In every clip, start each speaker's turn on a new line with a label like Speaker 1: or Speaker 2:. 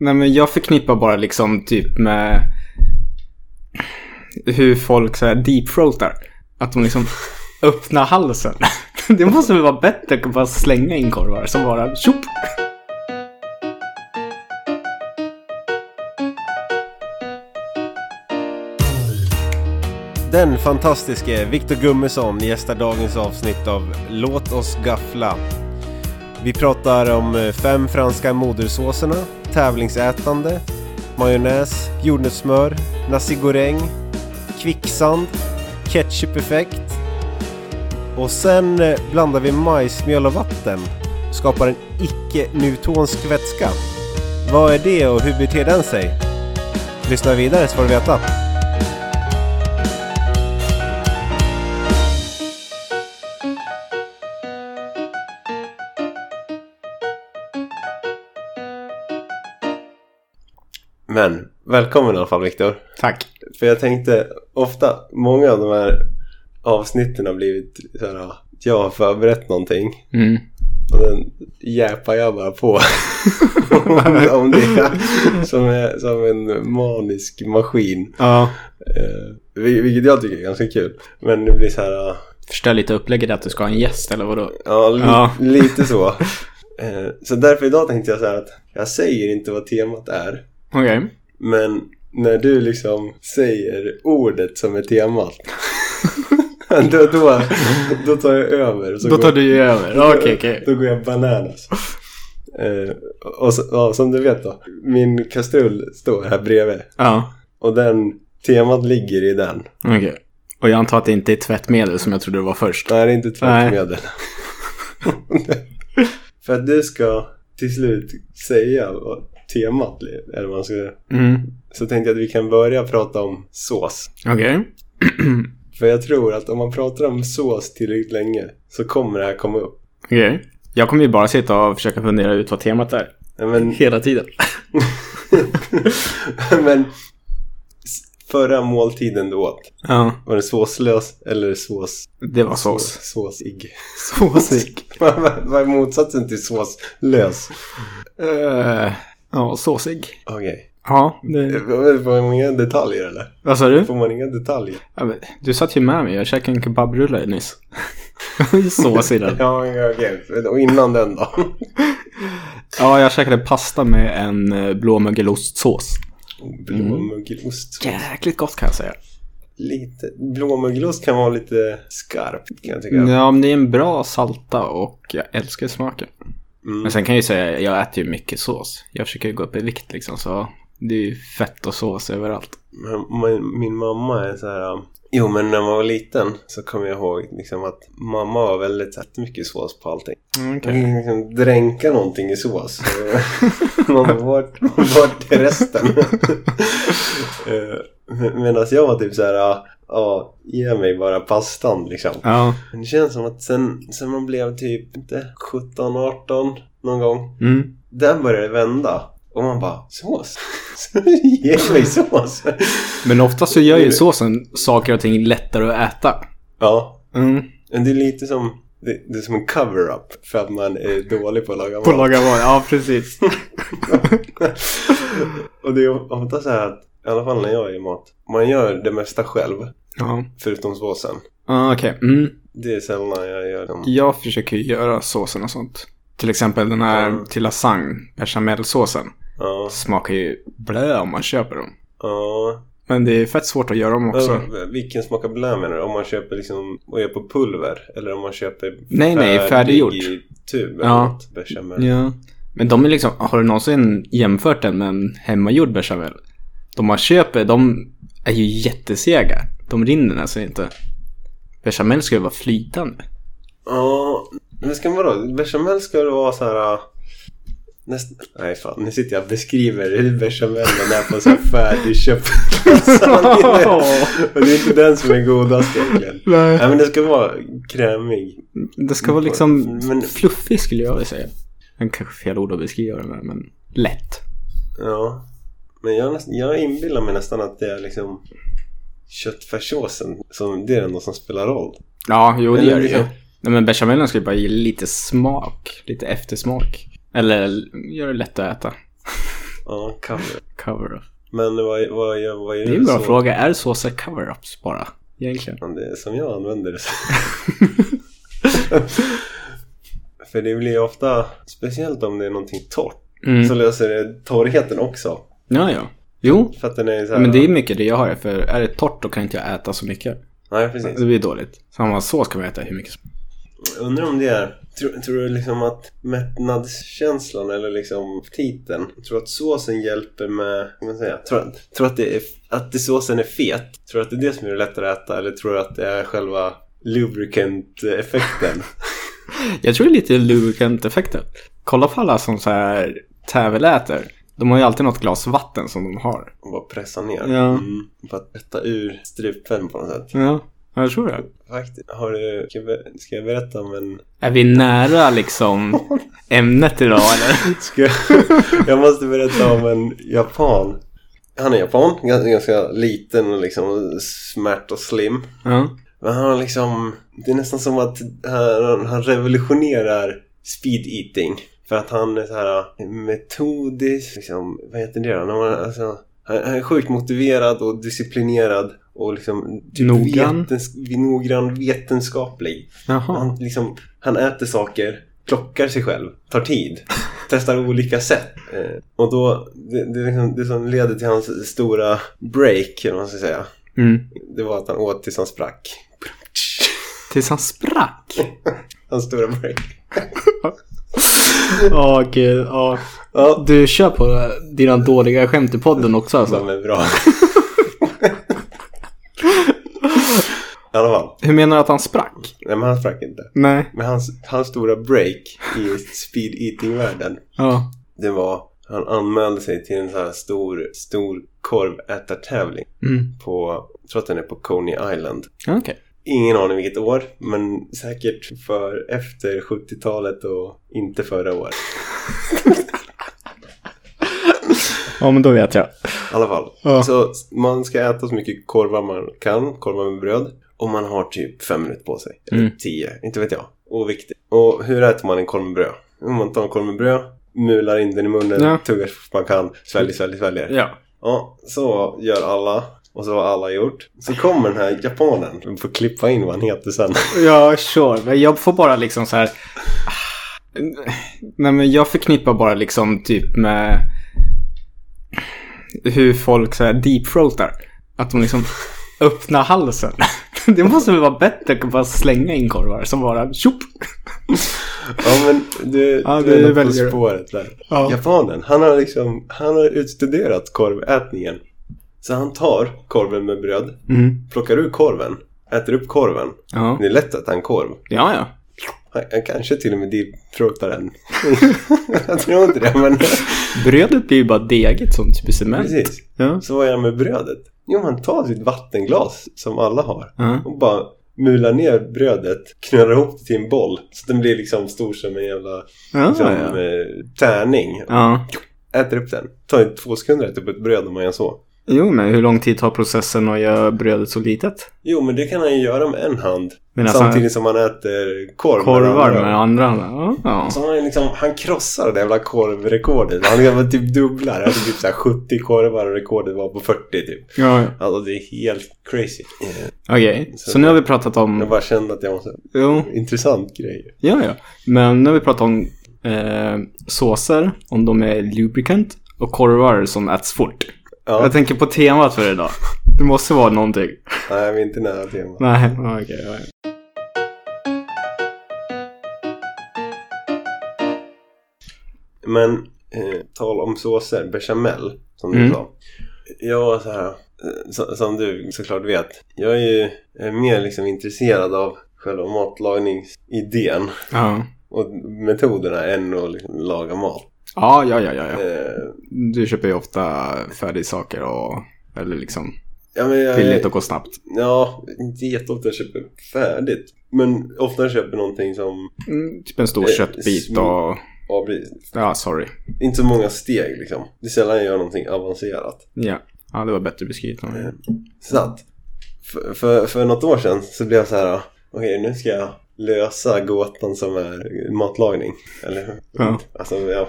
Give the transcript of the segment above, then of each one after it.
Speaker 1: nej men jag förknippar bara liksom typ med hur folk så här deepfroatar. Att de liksom öppnar halsen. Det måste väl vara bättre att bara slänga in korvar som bara tjopp.
Speaker 2: Den fantastiske Viktor Gummesson gästar dagens avsnitt av Låt oss gaffla. Vi pratar om eh, fem franska modersåserna, tävlingsätande, majonnäs, jordnötssmör, nasi goreng, kvicksand, ketchupeffekt och sen eh, blandar vi majsmjöl och vatten och skapar en icke-newtonsk vätska. Vad är det och hur beter den sig? Lyssna vidare så får du veta. Men välkommen i alla fall Viktor.
Speaker 1: Tack.
Speaker 2: För jag tänkte ofta, många av de här avsnitten har blivit så här, "Ah, jag har förberett någonting
Speaker 1: Mm.
Speaker 2: och den jäpar jag bara på. om, om det är, som, är, som en manisk maskin.
Speaker 1: Ja.
Speaker 2: Eh, vil- vilket jag tycker är ganska kul. Men det blir så här, "Ah,
Speaker 1: Förstör lite upplägget att du ska ha en gäst eller vadå?
Speaker 2: ja, li,
Speaker 1: Ja.
Speaker 2: lite så. Eh, så därför idag tänkte jag så här att jag säger inte vad temat är.
Speaker 1: Okej.
Speaker 2: Men när du liksom säger ordet som är temat då, då, då tar jag över. Så
Speaker 1: Då tar
Speaker 2: går,
Speaker 1: du ju över. Ja, Okej, okej.
Speaker 2: Då går jag bananas. Eh, och så, ja, som du vet då. Min kastrull står här bredvid.
Speaker 1: Ja.
Speaker 2: Och den, temat ligger i den.
Speaker 1: Okej. Och jag antar att det inte är tvättmedel som jag trodde det var först.
Speaker 2: Nej, det är inte tvättmedel. För att du ska till slut säga vad temat är. Eller vad man ska, säga.
Speaker 1: Mm.
Speaker 2: så tänkte jag att vi kan börja prata om sås.
Speaker 1: Okej.
Speaker 2: För jag tror att om man pratar om sås tillräckligt länge så kommer det här komma upp.
Speaker 1: Okej. Jag kommer ju bara sitta och försöka fundera ut vad temat är.
Speaker 2: Nej, Men,
Speaker 1: Hela tiden.
Speaker 2: men s- förra måltiden du åt,
Speaker 1: Ja.
Speaker 2: var det såslös eller sås...
Speaker 1: Det var sås.
Speaker 2: Såsig.
Speaker 1: Såsig.
Speaker 2: Vad vad är motsatsen till såslös?
Speaker 1: Eh, Ja, såsig.
Speaker 2: Okej.
Speaker 1: Ja, det...
Speaker 2: Får man inga detaljer eller?
Speaker 1: Vad sa du?
Speaker 2: Får man inga detaljer?
Speaker 1: Ja, men Du satt ju med mig. Jag käkade en kebabrulle nyss. Det är ju sås i den.
Speaker 2: Ja, ja, okej. Och innan den då?
Speaker 1: Ja, jag käkade pasta med en eh, blåmögelostsås.
Speaker 2: Blåmögelost.
Speaker 1: Jäkligt gott kan jag säga.
Speaker 2: Lite... Blåmögelost kan vara lite skarpt kan jag tycka.
Speaker 1: Ja, men det är en bra salta och jag älskar smaken.
Speaker 2: Mm.
Speaker 1: Men sen kan jag ju säga, jag äter ju mycket sås. Jag försöker ju gå upp i vikt liksom, så det är ju fett och sås överallt.
Speaker 2: Men Min, min mamma är så här... um, Jo, men när man var liten så kommer jag ihåg liksom att mamma var väldigt så här, mycket sås på allting.
Speaker 1: Mm,
Speaker 2: Man kan liksom dränka någonting i sås. man bara, vart, vart är resten? Eh, med- Medan jag var typ så här... "Ja, Ja, ge mig bara pastan liksom.
Speaker 1: Ja.
Speaker 2: Men det känns som att sen, sen man blev typ inte 17, 18 någon gång.
Speaker 1: Mm.
Speaker 2: Där började det vända. Och man bara, sås? ge mig sås!
Speaker 1: Men ofta så gör ju såsen saker och ting lättare att äta.
Speaker 2: ja,
Speaker 1: Mm.
Speaker 2: Men det är lite som, det, det är som en cover-up för att man är dålig på att laga mat.
Speaker 1: På laga var, ja precis.
Speaker 2: och det är ofta så här att, i alla fall när jag gör mat, man gör det mesta själv,
Speaker 1: Ja,
Speaker 2: förutom såsen.
Speaker 1: ah, okej. Mm.
Speaker 2: Det är sällan jag gör dem.
Speaker 1: Jag försöker ju göra såsen och sånt. Till exempel den här
Speaker 2: Mm.
Speaker 1: till lasagne, bechamelsåsen.
Speaker 2: Ja,
Speaker 1: Smakar ju blä om man köper dem.
Speaker 2: ja.
Speaker 1: Men det är fett svårt att göra dem också.
Speaker 2: Men Vilken smakar blä menar du? Om man köper liksom och gör på pulver? Eller om man köper
Speaker 1: Nej, nej, färdiggjort.
Speaker 2: i tub?
Speaker 1: Ja.
Speaker 2: Ja. Bechamel.
Speaker 1: Ja. Men de är liksom, har du någonsin jämfört den med en hemmagjord bechamel? De man köper, de är ju jättesega. De rinner nästan inte. Bechamel ska ju vara flytande.
Speaker 2: Ja, men ska man då? Bechamel ska det vara så här... äh, Näst... Nej fan, nu sitter jag och beskriver hur bechamelen är på så här färdigköpt lasagne. Och det är inte den som är godast egentligen. Nej men det ska vara krämig.
Speaker 1: Det ska vara liksom
Speaker 2: Men-
Speaker 1: fluffig skulle jag vilja säga. Men kanske fel ord att beskriva det med, men lätt.
Speaker 2: Ja. Men jag, näst... jag inbillar mig nästan att det är liksom köttfärssåsen. Som... Det är den som spelar roll.
Speaker 1: Ja, jo det
Speaker 2: Eller
Speaker 1: gör det ju.
Speaker 2: liksom-
Speaker 1: Nej men bechamelen ska ju bara ge lite smak, lite eftersmak. Eller göra det lätt att äta.
Speaker 2: Ja, cover.
Speaker 1: Cover-up.
Speaker 2: Men vad, vad, gör- vad gör
Speaker 1: Det är
Speaker 2: du
Speaker 1: en bra
Speaker 2: så?
Speaker 1: fråga. Är såser cover-ups bara? Egentligen.
Speaker 2: Men det är som jag använder det. För det blir ju ofta, speciellt om det är någonting torrt,
Speaker 1: Mm.
Speaker 2: så löser det torrheten också.
Speaker 1: Ja, ja. Jo,
Speaker 2: För att den är så här,
Speaker 1: men det är mycket det jag har. För är det torrt då kan inte jag äta så mycket.
Speaker 2: Nej, precis.
Speaker 1: Det blir dåligt. Samma sås kan man äta hur mycket som
Speaker 2: Undrar om det är... Tror, tror du liksom att mättnadskänslan eller liksom titeln? Tror att såsen hjälper med... Vad man säga? Tror, tror att, det är, att det såsen är fet? Tror att det är det som gör det lättare att äta? Eller tror du att det är själva lubricant-effekten?
Speaker 1: Jag tror det är lite lubricant-effekten. Kolla på alla som så här täveläter. De har ju alltid något glas vatten som de har.
Speaker 2: Och bara pressa ner?
Speaker 1: Ja.
Speaker 2: Mm, för att rätta ur strupen på något sätt.
Speaker 1: Ja, jag tror det.
Speaker 2: Faktiskt. Har du... Ska jag, ber- ska jag berätta om en...
Speaker 1: Är vi nära liksom ämnet idag eller?
Speaker 2: Ska jag, jag måste berätta om en japan. Han är japan, ganska, ganska liten och liksom smärt och slim.
Speaker 1: Ja.
Speaker 2: Men han har liksom, det är nästan som att han, han revolutionerar speed eating. För att han är så här eh, metodisk, liksom, vad heter det då? När man, alltså, han, han är sjukt motiverad och disciplinerad och liksom
Speaker 1: Noggrann.
Speaker 2: Vetens, noggrann vetenskaplig.
Speaker 1: Jaha.
Speaker 2: Han, liksom, han äter saker, klockar sig själv, tar tid, testar olika sätt. Eh, och då, det, det, är liksom, det som leder till hans stora break, eller vad man ska säga,
Speaker 1: Mm.
Speaker 2: det var att han åt tills han sprack.
Speaker 1: Tills han sprack.
Speaker 2: Hans stora break.
Speaker 1: Ja, gud. Ja.
Speaker 2: Ja,
Speaker 1: Du kör på dina dåliga skämt i podden också alltså.
Speaker 2: de är bra. I alla fall,
Speaker 1: Hur menar du att han sprack?
Speaker 2: nej men han sprack inte.
Speaker 1: Nej.
Speaker 2: Men hans, hans stora break i speed eating-världen,
Speaker 1: Ja.
Speaker 2: det var han anmälde sig till en så här stor, stor korvätartävling
Speaker 1: Mm.
Speaker 2: på, jag tror att den är på Coney Island.
Speaker 1: Okej.
Speaker 2: Ingen aning vilket år, men säkert för efter 70-talet och inte förra året.
Speaker 1: Ja, men då vet jag.
Speaker 2: I alla fall.
Speaker 1: Ja.
Speaker 2: Så man ska äta så mycket korvar man kan, korvar med bröd. Och man har typ fem minuter på sig. Eller
Speaker 1: Mm.
Speaker 2: tio, inte vet jag. Och viktigt. Och hur äter man en korv med bröd? Om man tar en korv med bröd, mular in den i munnen,
Speaker 1: Ja.
Speaker 2: tuggar så fort man kan, sväljer, sväljer, sväljer.
Speaker 1: Ja.
Speaker 2: Ja, så gör alla. Och så har alla gjort. Så kommer den här japanen. Vi får klippa in vad han heter sen.
Speaker 1: Ja, sure. Men jag får bara liksom så här... ah. Nej, men jag förknippar bara liksom typ med hur folk så här deepfroatar. Att de liksom öppnar halsen. Det måste väl vara bättre att bara slänga in korvar som bara tjopp.
Speaker 2: Ja men du,
Speaker 1: Ja,
Speaker 2: du
Speaker 1: det
Speaker 2: är nog på
Speaker 1: väljer du.
Speaker 2: spåret där.
Speaker 1: Ja.
Speaker 2: Japanen, han har liksom, han har utstuderat korvätningen. Så han tar korven med bröd,
Speaker 1: Mm.
Speaker 2: plockar ur korven, äter upp korven.
Speaker 1: Ja.
Speaker 2: Det är lätt att han korv.
Speaker 1: ja, ja.
Speaker 2: Han, han kanske till och med deepthroatar den. jag tror inte det men
Speaker 1: Brödet blir ju bara degigt som typ i cement.
Speaker 2: precis.
Speaker 1: Ja.
Speaker 2: Så vad gör han med brödet? Jo, han tar sitt vattenglas som alla har
Speaker 1: Ja.
Speaker 2: och bara mular ner brödet, knölar ihop det till en boll så den blir liksom stor som en jävla
Speaker 1: Ja,
Speaker 2: liksom,
Speaker 1: Ah, ja.
Speaker 2: eh, tärning
Speaker 1: ja.
Speaker 2: äter upp den. Tar ju två sekunder att äta upp ett bröd om man gör så.
Speaker 1: Jo, men hur lång tid tar processen att göra brödet så litet?
Speaker 2: Jo, men det kan han ju göra med en hand.
Speaker 1: Men alltså-
Speaker 2: samtidigt som han äter korv. med
Speaker 1: Korvar
Speaker 2: den andra.
Speaker 1: med andra handen. Ja, ja.
Speaker 2: Så han, är liksom, han krossar det jävla korvrekordet. Han liksom typ dubblar. Alltså typ så här 70 korvar och rekordet var på 40 typ.
Speaker 1: ja, ja.
Speaker 2: Alltså det är helt crazy.
Speaker 1: Mm.
Speaker 2: Eh,
Speaker 1: Okej,
Speaker 2: Så-
Speaker 1: så, nu har vi pratat
Speaker 2: Jag
Speaker 1: om...
Speaker 2: bara kände att jag måste...
Speaker 1: Jo,
Speaker 2: Intressant grej.
Speaker 1: ja, ja. Men nu har vi pratat om eh, såser, om de är lubricant och korvar som äts fort.
Speaker 2: Ja.
Speaker 1: Jag tänker på temat för idag. Det måste vara någonting.
Speaker 2: Nej, vi är inte nära temat.
Speaker 1: Nej, okej. ja, ja.
Speaker 2: Men eh, tal om såser, bechamel som du
Speaker 1: Mm.
Speaker 2: sa. Jag var så här, eh, so- som du såklart vet. Jag är ju eh, mer liksom intresserad av själva matlagningsidén
Speaker 1: ja.
Speaker 2: och metoderna än att liksom laga mat.
Speaker 1: Ja, ja, ja, ja, ja.
Speaker 2: Eh,
Speaker 1: Du köper ju ofta färdigsaker och... Eller liksom
Speaker 2: ja, men jag,
Speaker 1: billigt och går snabbt.
Speaker 2: Ja, inte jätteofta jag köper färdigt. Men ofta jag köper någonting som,
Speaker 1: Mm, typ en stor
Speaker 2: Eh,
Speaker 1: köttbit och...
Speaker 2: ja, blir-
Speaker 1: Ja, sorry.
Speaker 2: inte så många steg liksom. Det är sällan jag gör någonting avancerat.
Speaker 1: Ja. Ja, det var bättre beskrivet.
Speaker 2: Eh, Så att för, för, för något år sedan så blev jag så här. Okej, nu ska jag lösa gåtan som är matlagning. Eller hur?
Speaker 1: Ja.
Speaker 2: Alltså, jag,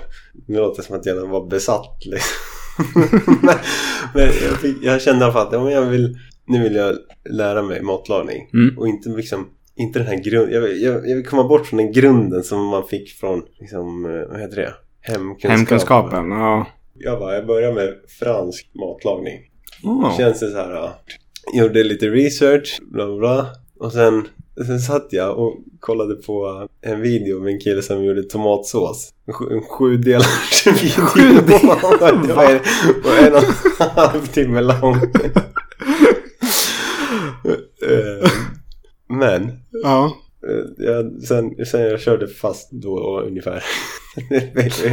Speaker 2: nu låter det som att jag var besatt liksom. men men jag, fick, jag kände i alla fall att ja, men jag vill, nu vill jag lära mig matlagning.
Speaker 1: Mm.
Speaker 2: Och inte liksom, inte den här grunden. Jag, vill- jag, jag vill komma bort från den grunden som man fick från, liksom, eh, vad heter det? Hemkunskap.
Speaker 1: Hemkunskapen, ja.
Speaker 2: Jag bara, jag börjar med fransk matlagning.
Speaker 1: Oh.
Speaker 2: Känns det så här. ja. Gjorde lite research, bla bla, bla. Och sen, sen satt jag och kollade på en video med en kille som gjorde tomatsås. En sju- En sjudelars video.
Speaker 1: Sjudelars?
Speaker 2: Det var en, var en och en halv timme lång. Eh, Men,
Speaker 1: Ja.
Speaker 2: eh, jag, sen, sen jag körde fast då ungefär.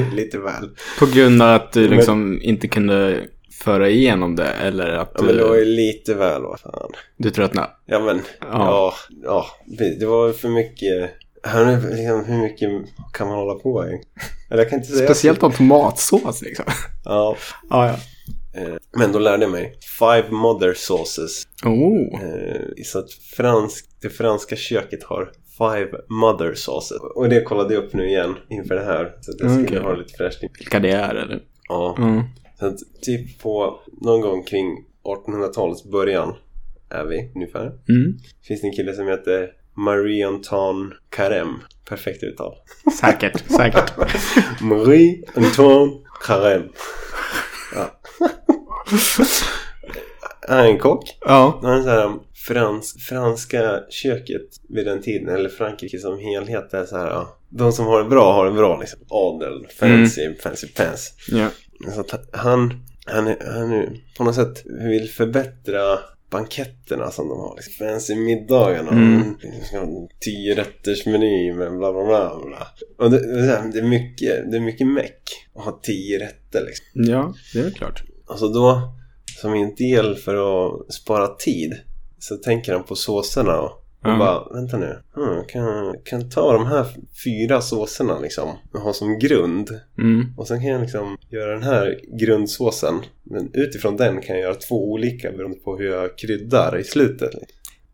Speaker 2: lite väl.
Speaker 1: På grund av att du liksom inte kunde föra igenom det eller att
Speaker 2: Ja, men det var ju
Speaker 1: du,
Speaker 2: lite väl, vad fan.
Speaker 1: du tröttnade.
Speaker 2: Ja men, ja. ja, det var för mycket. Jag undrar Liksom, hur mycket kan man hålla på i? Eller jag kan inte säga.
Speaker 1: Speciellt om tomatsås liksom.
Speaker 2: Ja,
Speaker 1: Ja, ja.
Speaker 2: eh, men då lärde jag mig. Five mother sauces.
Speaker 1: Oh.
Speaker 2: Eh, så att fransk, det franska köket har five mother sauces. Och det kollade jag upp nu igen inför det här. Så att jag skulle
Speaker 1: Mm, Okej.
Speaker 2: ha lite fräscht. i-
Speaker 1: Vilka det är eller?
Speaker 2: Ja,
Speaker 1: Mm.
Speaker 2: så att typ på någon gång kring 1800-talets början är vi ungefär.
Speaker 1: Mm.
Speaker 2: finns det en kille som heter Marie-Antoine Carême. Perfekt uttal.
Speaker 1: Säkert, säkert.
Speaker 2: Marie-Antoine Carême. Ja. Han är en kock.
Speaker 1: Ja.
Speaker 2: Han är så här, um, frans, franska köket vid den tiden, eller Frankrike som helhet, är så här. ja, De som har det bra har det bra liksom. Adel, fancy, fancy pants.
Speaker 1: ja.
Speaker 2: Så att han, han, är- han är på något sätt vill förbättra banketterna som de har. Liksom. Fancy middagarna.
Speaker 1: Mm.
Speaker 2: Mm. Tio rätters meny med bla bla bla. bla. Och det, det, är så här, det, är mycket, det är mycket meck att ha tio rätter. Liksom.
Speaker 1: Ja, det är väl klart.
Speaker 2: Alltså då, som en del för att spara tid, så tänker han på såserna. Och och
Speaker 1: Ja.
Speaker 2: bara, vänta nu, hmm, kan, kan ta de här fyra såserna liksom och ha som grund.
Speaker 1: Mm.
Speaker 2: Och sen kan jag liksom göra den här grundsåsen. Men utifrån den kan jag göra två olika beroende på hur jag kryddar i slutet.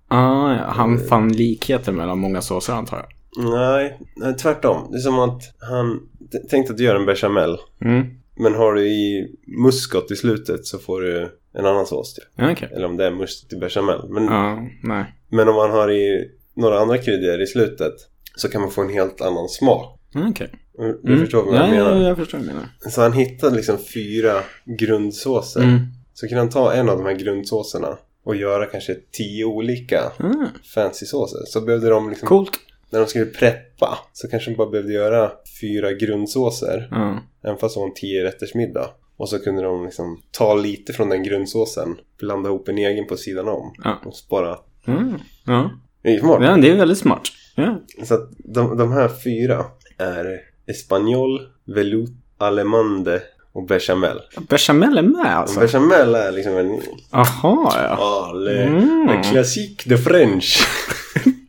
Speaker 1: Ah, ja. Han fann likheter mellan många såser antar jag.
Speaker 2: Nej, nej tvärtom. Det är som att han t- tänkte att du gör en bechamel.
Speaker 1: Mm.
Speaker 2: Men har du i muskot i slutet så får du en annan sås. Typ.
Speaker 1: Ja, Okej.
Speaker 2: Eller om det är muskot i bechamel. Men,
Speaker 1: Ja, nej.
Speaker 2: men om man har i några andra kryddor i slutet så kan man få en helt annan smak.
Speaker 1: Ja, Okej.
Speaker 2: Du
Speaker 1: Mm.
Speaker 2: förstår vad jag
Speaker 1: ja,
Speaker 2: menar?
Speaker 1: Ja, jag förstår vad du menar.
Speaker 2: Så han hittade liksom fyra grundsåser.
Speaker 1: Mm.
Speaker 2: Så kan han ta en av de här grundsåserna och göra kanske tio olika
Speaker 1: Ah,
Speaker 2: fancy såser. Så behövde de liksom,
Speaker 1: coolt.
Speaker 2: när de skulle preppa så kanske de bara behövde göra fyra grundsåser.
Speaker 1: Ja.
Speaker 2: Även fast det var en tio rätters middag. Och så kunde de liksom ta lite från den grundsåsen, blanda ihop en egen på sidan om
Speaker 1: Ja.
Speaker 2: och spara.
Speaker 1: Mm. Ja.
Speaker 2: Det är ju smart.
Speaker 1: ja, det är väldigt smart. Ja.
Speaker 2: Så att de, de här fyra är Espanol, Velout, Allemande och Bechamel.
Speaker 1: Bechamel är med
Speaker 2: Och
Speaker 1: alltså?
Speaker 2: Bechamel är liksom en...
Speaker 1: Aha, ja.
Speaker 2: Ah, le,
Speaker 1: Mm.
Speaker 2: le classique de French.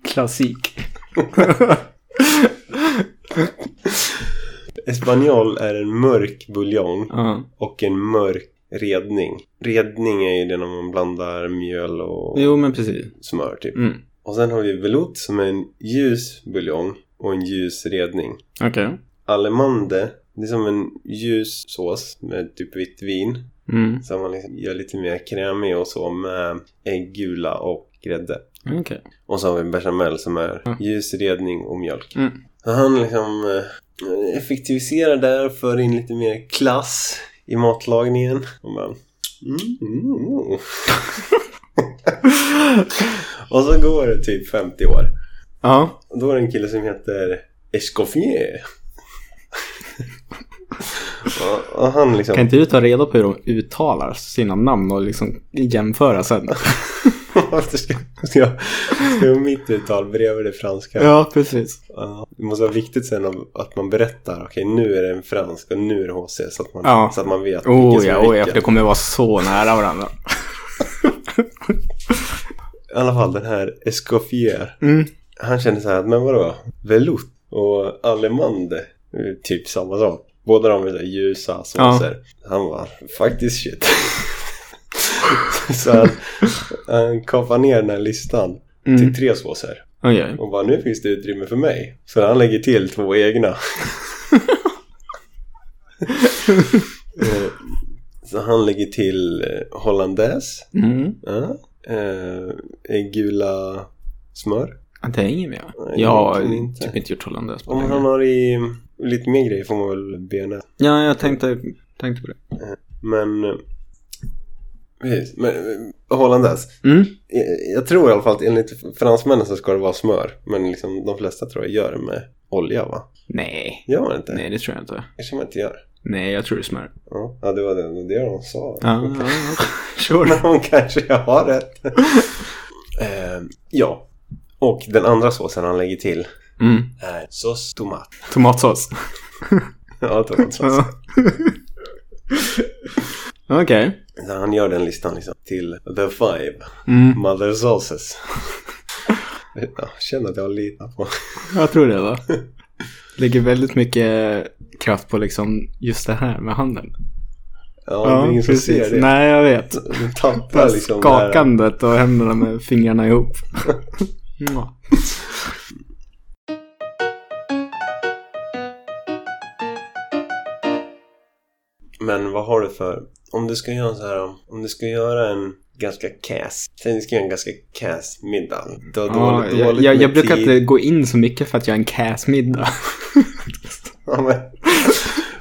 Speaker 1: Klassik.
Speaker 2: Espanol är en mörk buljong
Speaker 1: Ja.
Speaker 2: och en mörk redning. Redning är ju det när man blandar mjöl och
Speaker 1: Jo, men precis.
Speaker 2: smör typ.
Speaker 1: Mm.
Speaker 2: Och sen har vi velout som är en ljus buljong och en ljus redning.
Speaker 1: Okej.
Speaker 2: Allemande, det är som en ljus sås med typ vitt vin.
Speaker 1: Mm.
Speaker 2: Som man liksom gör lite mer krämig och så med ägggula och grädde.
Speaker 1: Okej.
Speaker 2: Och så har vi bechamel som är
Speaker 1: Mm.
Speaker 2: ljus redning och mjölk.
Speaker 1: Mm.
Speaker 2: Så han liksom eh, effektiviserar där, för in lite mer klass i matlagningen. Och, bara, mm, mm, mm. och så går det typ 50 år.
Speaker 1: Ja.
Speaker 2: Och då är det en kille som heter Escoffier. och, och han liksom...
Speaker 1: Kan inte du ta reda på hur de uttalar sina namn och liksom jämföra sen?
Speaker 2: Varför ska, ska, jag- ska jag ha mitt uttal bredvid det franska?
Speaker 1: ja, precis.
Speaker 2: Ja, det måste vara viktigt sen om- att man berättar. Okej, nu är det en fransk och nu är det HC. Så att man,
Speaker 1: Ja.
Speaker 2: så att man vet
Speaker 1: Oh
Speaker 2: som
Speaker 1: ja,
Speaker 2: är
Speaker 1: oh ja,
Speaker 2: vilken.
Speaker 1: för det kommer vara så nära varandra.
Speaker 2: I alla fall den här Escoffier.
Speaker 1: Mm.
Speaker 2: Han kände så här att, men vadå? Velout och Allemande. är ju Typ samma sak. Båda de är så här ljusa såser. Han var faktiskt shit. så han, han kapade ner den här listan
Speaker 1: Mm.
Speaker 2: till tre såser.
Speaker 1: Okej.
Speaker 2: Och bara nu finns det utrymme för mig. Så han lägger till två egna. Eh, Så han lägger till eh, hollandaise.
Speaker 1: Mm.
Speaker 2: Ja. Eh, eh, gula smör.
Speaker 1: Ja, Det är ingen mer.
Speaker 2: Nej,
Speaker 1: Jag har
Speaker 2: egentligen inte.
Speaker 1: typ inte gjort hollandaise på
Speaker 2: Om han
Speaker 1: länge.
Speaker 2: har i lite mer grejer får man väl bena.
Speaker 1: Ja, jag tänkte, tänkte på det.
Speaker 2: Men... eh, Precis, men eh, hollandaise.
Speaker 1: Mm.
Speaker 2: Eh, Jag tror i alla fall att enligt fransmännen så ska det vara smör. Men liksom de flesta tror jag gör det med olja va?
Speaker 1: Nej.
Speaker 2: Gör man inte?
Speaker 1: Nej, det tror jag inte.
Speaker 2: kanske man inte gör.
Speaker 1: Nej, jag tror det är smör.
Speaker 2: Ja, ja, det var det, det de sa.
Speaker 1: Ja, ja, ja. Sure.
Speaker 2: Men hon kanske har rätt. eh, ja. Och den andra såsen han lägger till
Speaker 1: Mm.
Speaker 2: är sås tomat.
Speaker 1: Tomatsås.
Speaker 2: ja, tomatsås.
Speaker 1: Ja. Okej.
Speaker 2: Så han gör den listan liksom till the five
Speaker 1: Mm.
Speaker 2: mother sauces. ja, känner att jag litar på.
Speaker 1: Jag tror det va. Lägger väldigt mycket kraft på liksom just det här med handen.
Speaker 2: Ja, det är ingen som ser det.
Speaker 1: Nej, jag vet.
Speaker 2: Du tappar liksom det här-
Speaker 1: Skakandet och händerna med fingrarna ihop. Mwah.
Speaker 2: Men vad har du för... Om du ska göra så här, om du ska göra en ganska cass. Säg du ska göra en ganska cass middag. Du har
Speaker 1: Ja,
Speaker 2: dåligt,
Speaker 1: jag,
Speaker 2: dåligt
Speaker 1: jag,
Speaker 2: med
Speaker 1: jag brukar
Speaker 2: tid.
Speaker 1: inte gå in så mycket för att jag är en cass-middag.
Speaker 2: Ja, men...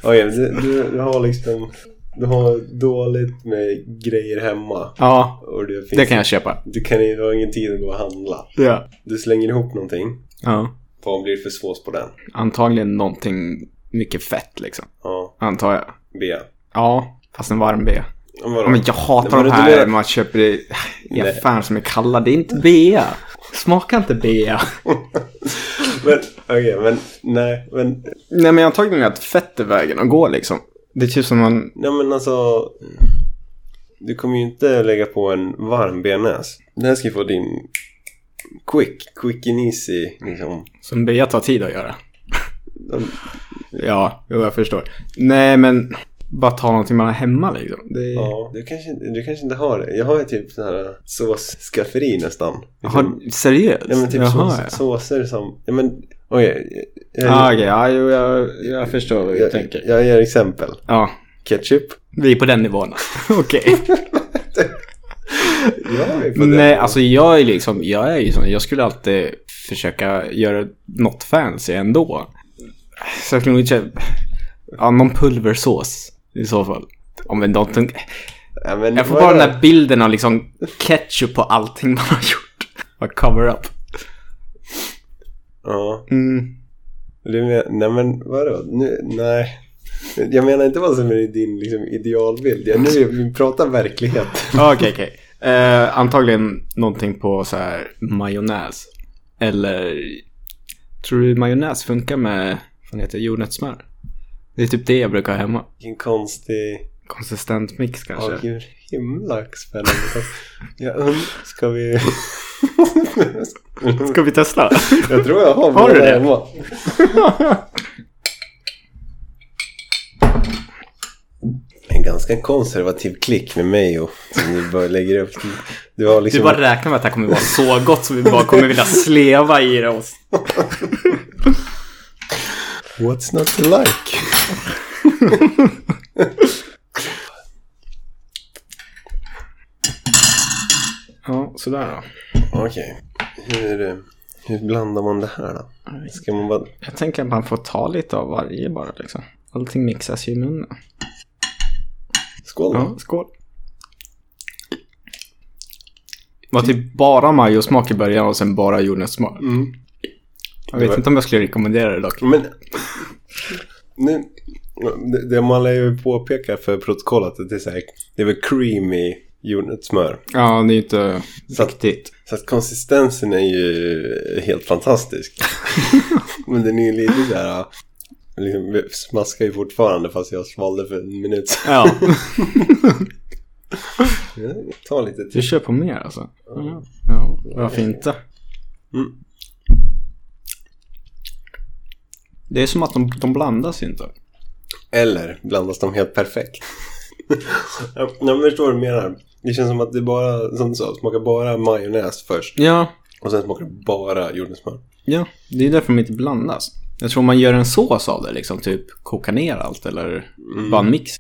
Speaker 2: Okej, men du, du, du har liksom... Du har dåligt med grejer hemma.
Speaker 1: ja,
Speaker 2: Och det finns,
Speaker 1: det kan jag köpa.
Speaker 2: Du, kan, ju- du har ingen tid att gå och handla.
Speaker 1: Ja.
Speaker 2: Du slänger ihop någonting.
Speaker 1: ja.
Speaker 2: Vad blir det för sås på den?
Speaker 1: Antagligen någonting mycket fett liksom.
Speaker 2: Ja,
Speaker 1: Antar jag.
Speaker 2: B.
Speaker 1: Ja, fast en varm B.
Speaker 2: Ja, vadå?
Speaker 1: Ja, men jag hatar
Speaker 2: Men
Speaker 1: de
Speaker 2: du
Speaker 1: här
Speaker 2: menar-
Speaker 1: man köper i i
Speaker 2: Nej.
Speaker 1: affären som är kalla. Det är inte bea. Smaka inte bea.
Speaker 2: Men, okej, men nej, men...
Speaker 1: Nej men antagligen att fett är vägen att gå liksom. Det är typ som man...
Speaker 2: Nej, men alltså... Du kommer ju inte lägga på en varm bearnaise. Den här ska ju få din quick, quick and easy, liksom.
Speaker 1: Som bea tar tid att göra.
Speaker 2: De-
Speaker 1: Ja, jo jag förstår. Nej men, bara ta någonting man har hemma liksom. Det är...
Speaker 2: Ja, du kanske, inte- du kanske inte har det. Jag har ju typ sån här såsskafferi nästan. Liksom,
Speaker 1: Har, seriöst?
Speaker 2: nej, men typ
Speaker 1: Jaha,
Speaker 2: sås,
Speaker 1: ja.
Speaker 2: såser som... Ja, men okej. jag,
Speaker 1: Ah, okej, ja, jo, jag, jag förstår vad du
Speaker 2: jag,
Speaker 1: tänker.
Speaker 2: jag, jag ger exempel.
Speaker 1: Ja,
Speaker 2: Ketchup.
Speaker 1: vi är på den nivån. Okej.
Speaker 2: Ja, vi får det.
Speaker 1: Nej, alltså jag är liksom, jag är ju sån, jag skulle alltid försöka göra något fancy ändå. Så jag skulle nog inte, ja, någon pulversås i så fall. Om en datum.
Speaker 2: Ja, men,
Speaker 1: Jag får
Speaker 2: vadå?
Speaker 1: bara den där bilden av liksom ketchup på allting man har gjort. Bara cover up.
Speaker 2: Ja,
Speaker 1: Mm.
Speaker 2: du men, nej men vadå? Nu, nej. Jag menar inte vad som är din liksom, idealbild. Jag, nu vi pratar verklighet.
Speaker 1: Ja, Ah, Okej, okej. Eh, antagligen någonting på så här majonnäs. Eller, tror du majonnäs funkar med, vad fan heter det, jordnötssmör? Det är typ det jag brukar ha hemma.
Speaker 2: Vilken konstig...
Speaker 1: Konsistent mix kanske.
Speaker 2: Ja, vilken himla spännande. Jag und- Ska vi...
Speaker 1: Ska vi testa?
Speaker 2: Jag tror jag har,
Speaker 1: Har du
Speaker 2: båda
Speaker 1: det?
Speaker 2: hemma. En ganska konservativ klick med mig och som du bara lägger upp. Du har liksom...
Speaker 1: Du bara räknar med att det här kommer vara så gott så vi bara kommer vilja sleva i det. Och...
Speaker 2: What's not to like?
Speaker 1: Ja, sådär då.
Speaker 2: Okej. Hur, hur blandar man det här då? Ska man bara...
Speaker 1: Jag tänker att man får ta lite av varje bara liksom. Allting mixas ju i munnen.
Speaker 2: Skål då.
Speaker 1: Ja, skål. Var typ bara majosmak i början och sen bara jordnötssmak.
Speaker 2: Mm.
Speaker 1: Jag vet inte om jag skulle rekommendera det dock.
Speaker 2: Men... Nu... Det, det man lär ju påpeka för protokollet att det är så här, Det är väl creamy jordnötssmör.
Speaker 1: Ja, det är ju inte
Speaker 2: Så att-
Speaker 1: riktigt.
Speaker 2: Så att konsistensen är ju helt fantastisk. Men den är ju lite så här... Liksom, vi smaskar ju fortfarande fast jag svalde för en minut sedan.
Speaker 1: Ja,
Speaker 2: Ta lite till.
Speaker 1: du kör på mer alltså. Ja, ja varför inte?
Speaker 2: Mm.
Speaker 1: Det är som att de, de blandas ju inte.
Speaker 2: Eller blandas de helt perfekt? jag, jag förstår vad du menar. Det känns som att det bara, som du sa, smakar bara majonnäs först.
Speaker 1: Ja,
Speaker 2: Och sen smakar det bara jordnötssmör.
Speaker 1: Ja, det är därför de inte blandas. Jag tror man gör en sås av det, liksom typ koka ner allt eller bara en mix.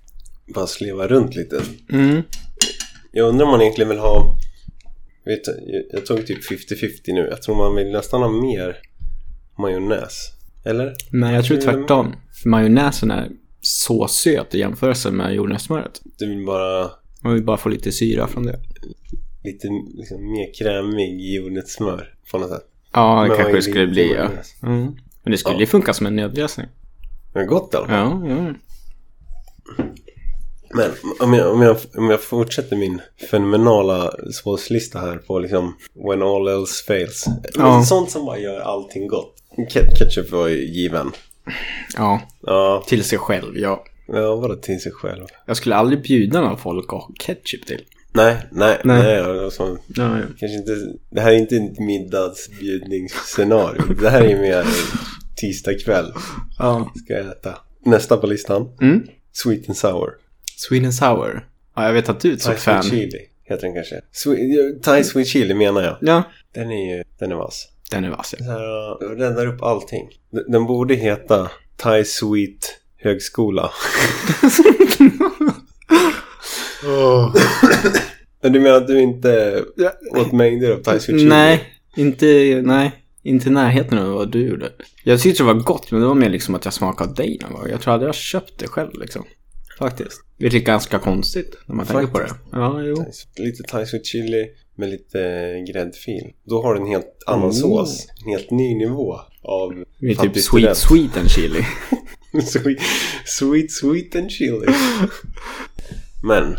Speaker 2: Bara sleva runt lite.
Speaker 1: Mm.
Speaker 2: Jag undrar om man egentligen vill ha... Vet, du, jag, jag tog typ 50-50 nu. Jag tror man vill nästan ha mer majonnäs. Eller?
Speaker 1: Men jag tror tvärtom. För majonnäsen är så söt i jämförelse med jordnötssmöret.
Speaker 2: Du vill bara
Speaker 1: Man vill bara få lite syra från det.
Speaker 2: lite liksom, mer krämig jordnötssmör på något sätt.
Speaker 1: Ja, det
Speaker 2: Men
Speaker 1: kanske
Speaker 2: vad är
Speaker 1: det skulle
Speaker 2: det?
Speaker 1: bli. Ja. Mm. Men det skulle ju
Speaker 2: Ja.
Speaker 1: funka som en nödlösning.
Speaker 2: Men gott i alla
Speaker 1: Ja,
Speaker 2: fall.
Speaker 1: ja.
Speaker 2: Men om jag, om, jag, om jag fortsätter min fenomenala såslista här på liksom When all else fails.
Speaker 1: Ja.
Speaker 2: Men Sånt som bara gör allting gott. Ke- Ketchup var ju given.
Speaker 1: ja,
Speaker 2: Ja,
Speaker 1: till sig själv. Ja.
Speaker 2: ja bara till sig själv.
Speaker 1: Jag skulle aldrig bjuda någon folk att ha ketchup till.
Speaker 2: Nej, nej,
Speaker 1: Nej.
Speaker 2: nej. alltså,
Speaker 1: Ja, ja.
Speaker 2: kanske inte, det här är inte ett middagsbjudningsscenario. Det här är mer tisdag kväll.
Speaker 1: ja.
Speaker 2: Ska jag äta. Nästa på listan.
Speaker 1: Mm.
Speaker 2: Sweet and sour.
Speaker 1: Sweden Sour. Ja, jag vet att du är ett
Speaker 2: Thai
Speaker 1: sånt fan.
Speaker 2: sweet chili heter den kanske. Swe- Thai sweet chili menar jag.
Speaker 1: Ja,
Speaker 2: Den är ju, den är vass.
Speaker 1: den är vass. ja.
Speaker 2: Så här, uh, räddar upp allting. D- Den borde heta Thai Sweet Högskola. Men du menar att du inte åt mängder av Thai Sweet Chili?
Speaker 1: Nej, inte, nej, inte i närheten av vad du gjorde. Jag tyckte det var gott, men det var mer liksom att jag smakade dig någon gång. Jag tror aldrig jag köpt det själv liksom. Faktiskt. Vilket är ganska konstigt när man tänker på
Speaker 2: Faktiskt.
Speaker 1: det. Ja, jo.
Speaker 2: Lite Thai Sweet Chili med lite gräddfil. Då har du en helt annan
Speaker 1: Mm.
Speaker 2: sås. En helt ny nivå av
Speaker 1: Vi är typ
Speaker 2: Fattig
Speaker 1: sweet,
Speaker 2: student.
Speaker 1: sweet and chili.
Speaker 2: sweet, sweet, sweet and chili. Men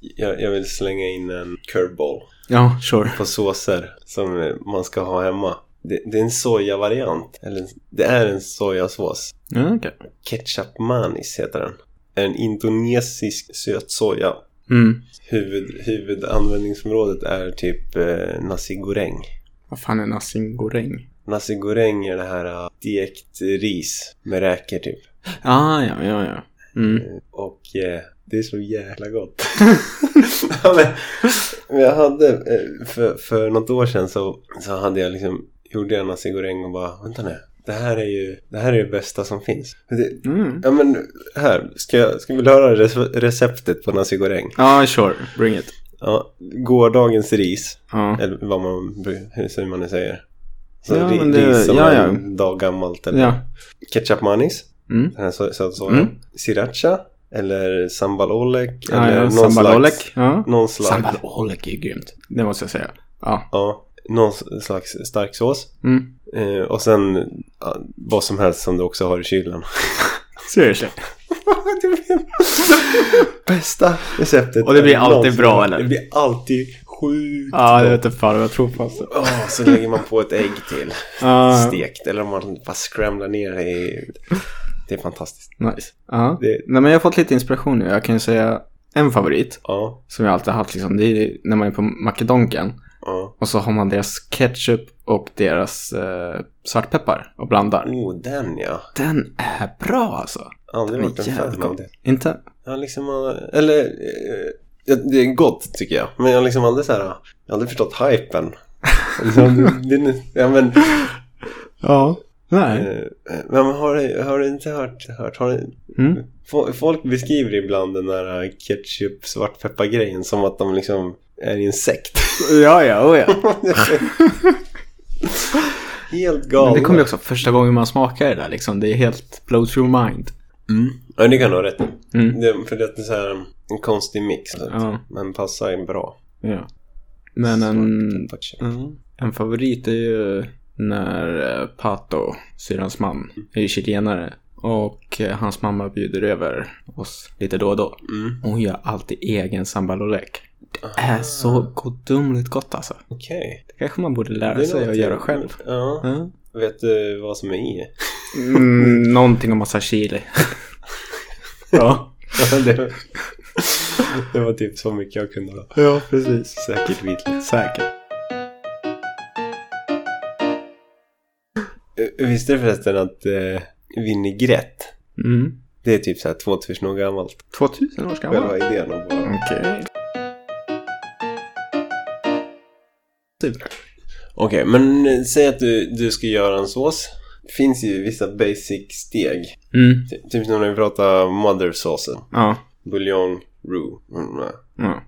Speaker 2: jag, jag vill slänga in en curveball.
Speaker 1: Ja, sure.
Speaker 2: på såser som eh, man ska ha hemma. Det, det är en sojavariant. Eller det är en sojasås.
Speaker 1: Ja, okej.
Speaker 2: Ketchup manis heter den. En indonesisk söt soja.
Speaker 1: Mm.
Speaker 2: Huvud, huvudanvändningsområdet är typ eh, nasi goreng.
Speaker 1: Vad fan är nasi goreng?
Speaker 2: Nasi goreng är det här eh, dekt ris med räkor typ.
Speaker 1: Ah, ja, ja, ja. Mm.
Speaker 2: Och eh, det är så jävla gott. ja, men, men jag hade, eh, för, för något år sedan så, så hade jag liksom, gjorde jag nasi goreng och bara, vänta nu, det här är ju det, här är det bästa som finns. Det,
Speaker 1: Mm.
Speaker 2: ja men här, ska, jag- ska vi vilja höra rece- receptet på nasi goreng?
Speaker 1: Ja, sure. Bring it.
Speaker 2: Ja, gårdagens ris,
Speaker 1: Ja,
Speaker 2: eller vad man, bru- hur säger man nu säger. Så
Speaker 1: Ja,
Speaker 2: ri-
Speaker 1: men det-
Speaker 2: ris som
Speaker 1: ja,
Speaker 2: är
Speaker 1: ja.
Speaker 2: en dag gammalt eller
Speaker 1: ja.
Speaker 2: ketchup manis.
Speaker 1: Mm.
Speaker 2: Den här sö- söta sojan.
Speaker 1: Mm.
Speaker 2: Sriracha. Eller sambal olek.
Speaker 1: Ja,
Speaker 2: eller
Speaker 1: ja.
Speaker 2: någon
Speaker 1: Sambal
Speaker 2: slags-
Speaker 1: olek. Ja.
Speaker 2: Någon slags,
Speaker 1: Sambal olek är ju grymt. Det måste jag säga. Ja.
Speaker 2: ja, någon s- slags stark sås.
Speaker 1: Mm.
Speaker 2: Eh, och sen ja, vad som helst som du också har i kylen.
Speaker 1: Seriously.
Speaker 2: Det blir Bästa receptet.
Speaker 1: Och det blir
Speaker 2: är
Speaker 1: alltid
Speaker 2: någonsin-
Speaker 1: bra, eller?
Speaker 2: Det blir alltid sjukt
Speaker 1: Ja, jag
Speaker 2: gott.
Speaker 1: vet inte fan vad jag tror på alltså.
Speaker 2: Ja, så lägger man på ett ägg till.
Speaker 1: Ja,
Speaker 2: Stekt. Eller om man bara scramlar ner det i... Det är fantastiskt.
Speaker 1: nice. Ja.
Speaker 2: Det-
Speaker 1: Nej, men jag har fått lite inspiration nu. Jag kan ju säga en favorit
Speaker 2: Ja,
Speaker 1: som jag alltid haft liksom. Det är när man är på Makedonken.
Speaker 2: ja.
Speaker 1: Och så har man deras ketchup och deras eh, svartpeppar och blandar.
Speaker 2: Oh, den ja.
Speaker 1: Den är bra alltså.
Speaker 2: Aldrig
Speaker 1: Den är
Speaker 2: varit en
Speaker 1: jävligt
Speaker 2: fan av
Speaker 1: god.
Speaker 2: det.
Speaker 1: Inte?
Speaker 2: Jag har liksom, eh, eller eh, ja, det är gott tycker jag. Men jag har liksom aldrig så här, jag har aldrig förstått hypen. Liksom, det är nu- ja, men,
Speaker 1: Ja. Nej.
Speaker 2: eh, men har, du- har du inte hört, hört har du,
Speaker 1: Mm.
Speaker 2: fo- folk beskriver ibland den där eh, ketchup svartpeppargrejen som att de liksom är i en sekt.
Speaker 1: Ja, ja, oh, ja.
Speaker 2: Helt
Speaker 1: Men
Speaker 2: galet.
Speaker 1: det kommer ju också första gången man smakar det där liksom. Det är helt blow through mind.
Speaker 2: Mm. Ja, det kan du ha rätt i.
Speaker 1: Mm.
Speaker 2: Det, för det är så här en konstig mix.
Speaker 1: Ja.
Speaker 2: Men passar ju bra.
Speaker 1: ja. Men en
Speaker 2: Svartpepparketchup.
Speaker 1: En favorit är ju när eh, Pato, syrrans man, är ju chilenare. Och eh, hans mamma bjuder över oss lite då och då.
Speaker 2: Mm. Ah,
Speaker 1: Och Hon gör alltid egen sambalolek. Det är så gudomligt gott alltså.
Speaker 2: Okej.
Speaker 1: Det kanske man borde lära sig att
Speaker 2: låter-
Speaker 1: göra själv. Mm.
Speaker 2: Ja.
Speaker 1: Ja.
Speaker 2: Vet du vad som är i?
Speaker 1: Mm, någonting om massa chili. ja.
Speaker 2: det, det var typ så mycket jag kunde. ha.
Speaker 1: ja, precis.
Speaker 2: Säkert vitlök.
Speaker 1: Säkert.
Speaker 2: Eh, Visste du förresten att eh, vinägrett,
Speaker 1: Mm.
Speaker 2: det är typ så här 2000 år gammalt.
Speaker 1: 2000 år
Speaker 2: Själva
Speaker 1: gammal.
Speaker 2: idén om bara...
Speaker 1: Okej. Typ.
Speaker 2: Okej, men eh, säg att du, du ska göra en sås. Det finns ju vissa basic-steg.
Speaker 1: Mm,
Speaker 2: Ty- Typ som när vi pratar mother saucen.
Speaker 1: ja.
Speaker 2: Buljong, roux. Mm, nej.
Speaker 1: Ja.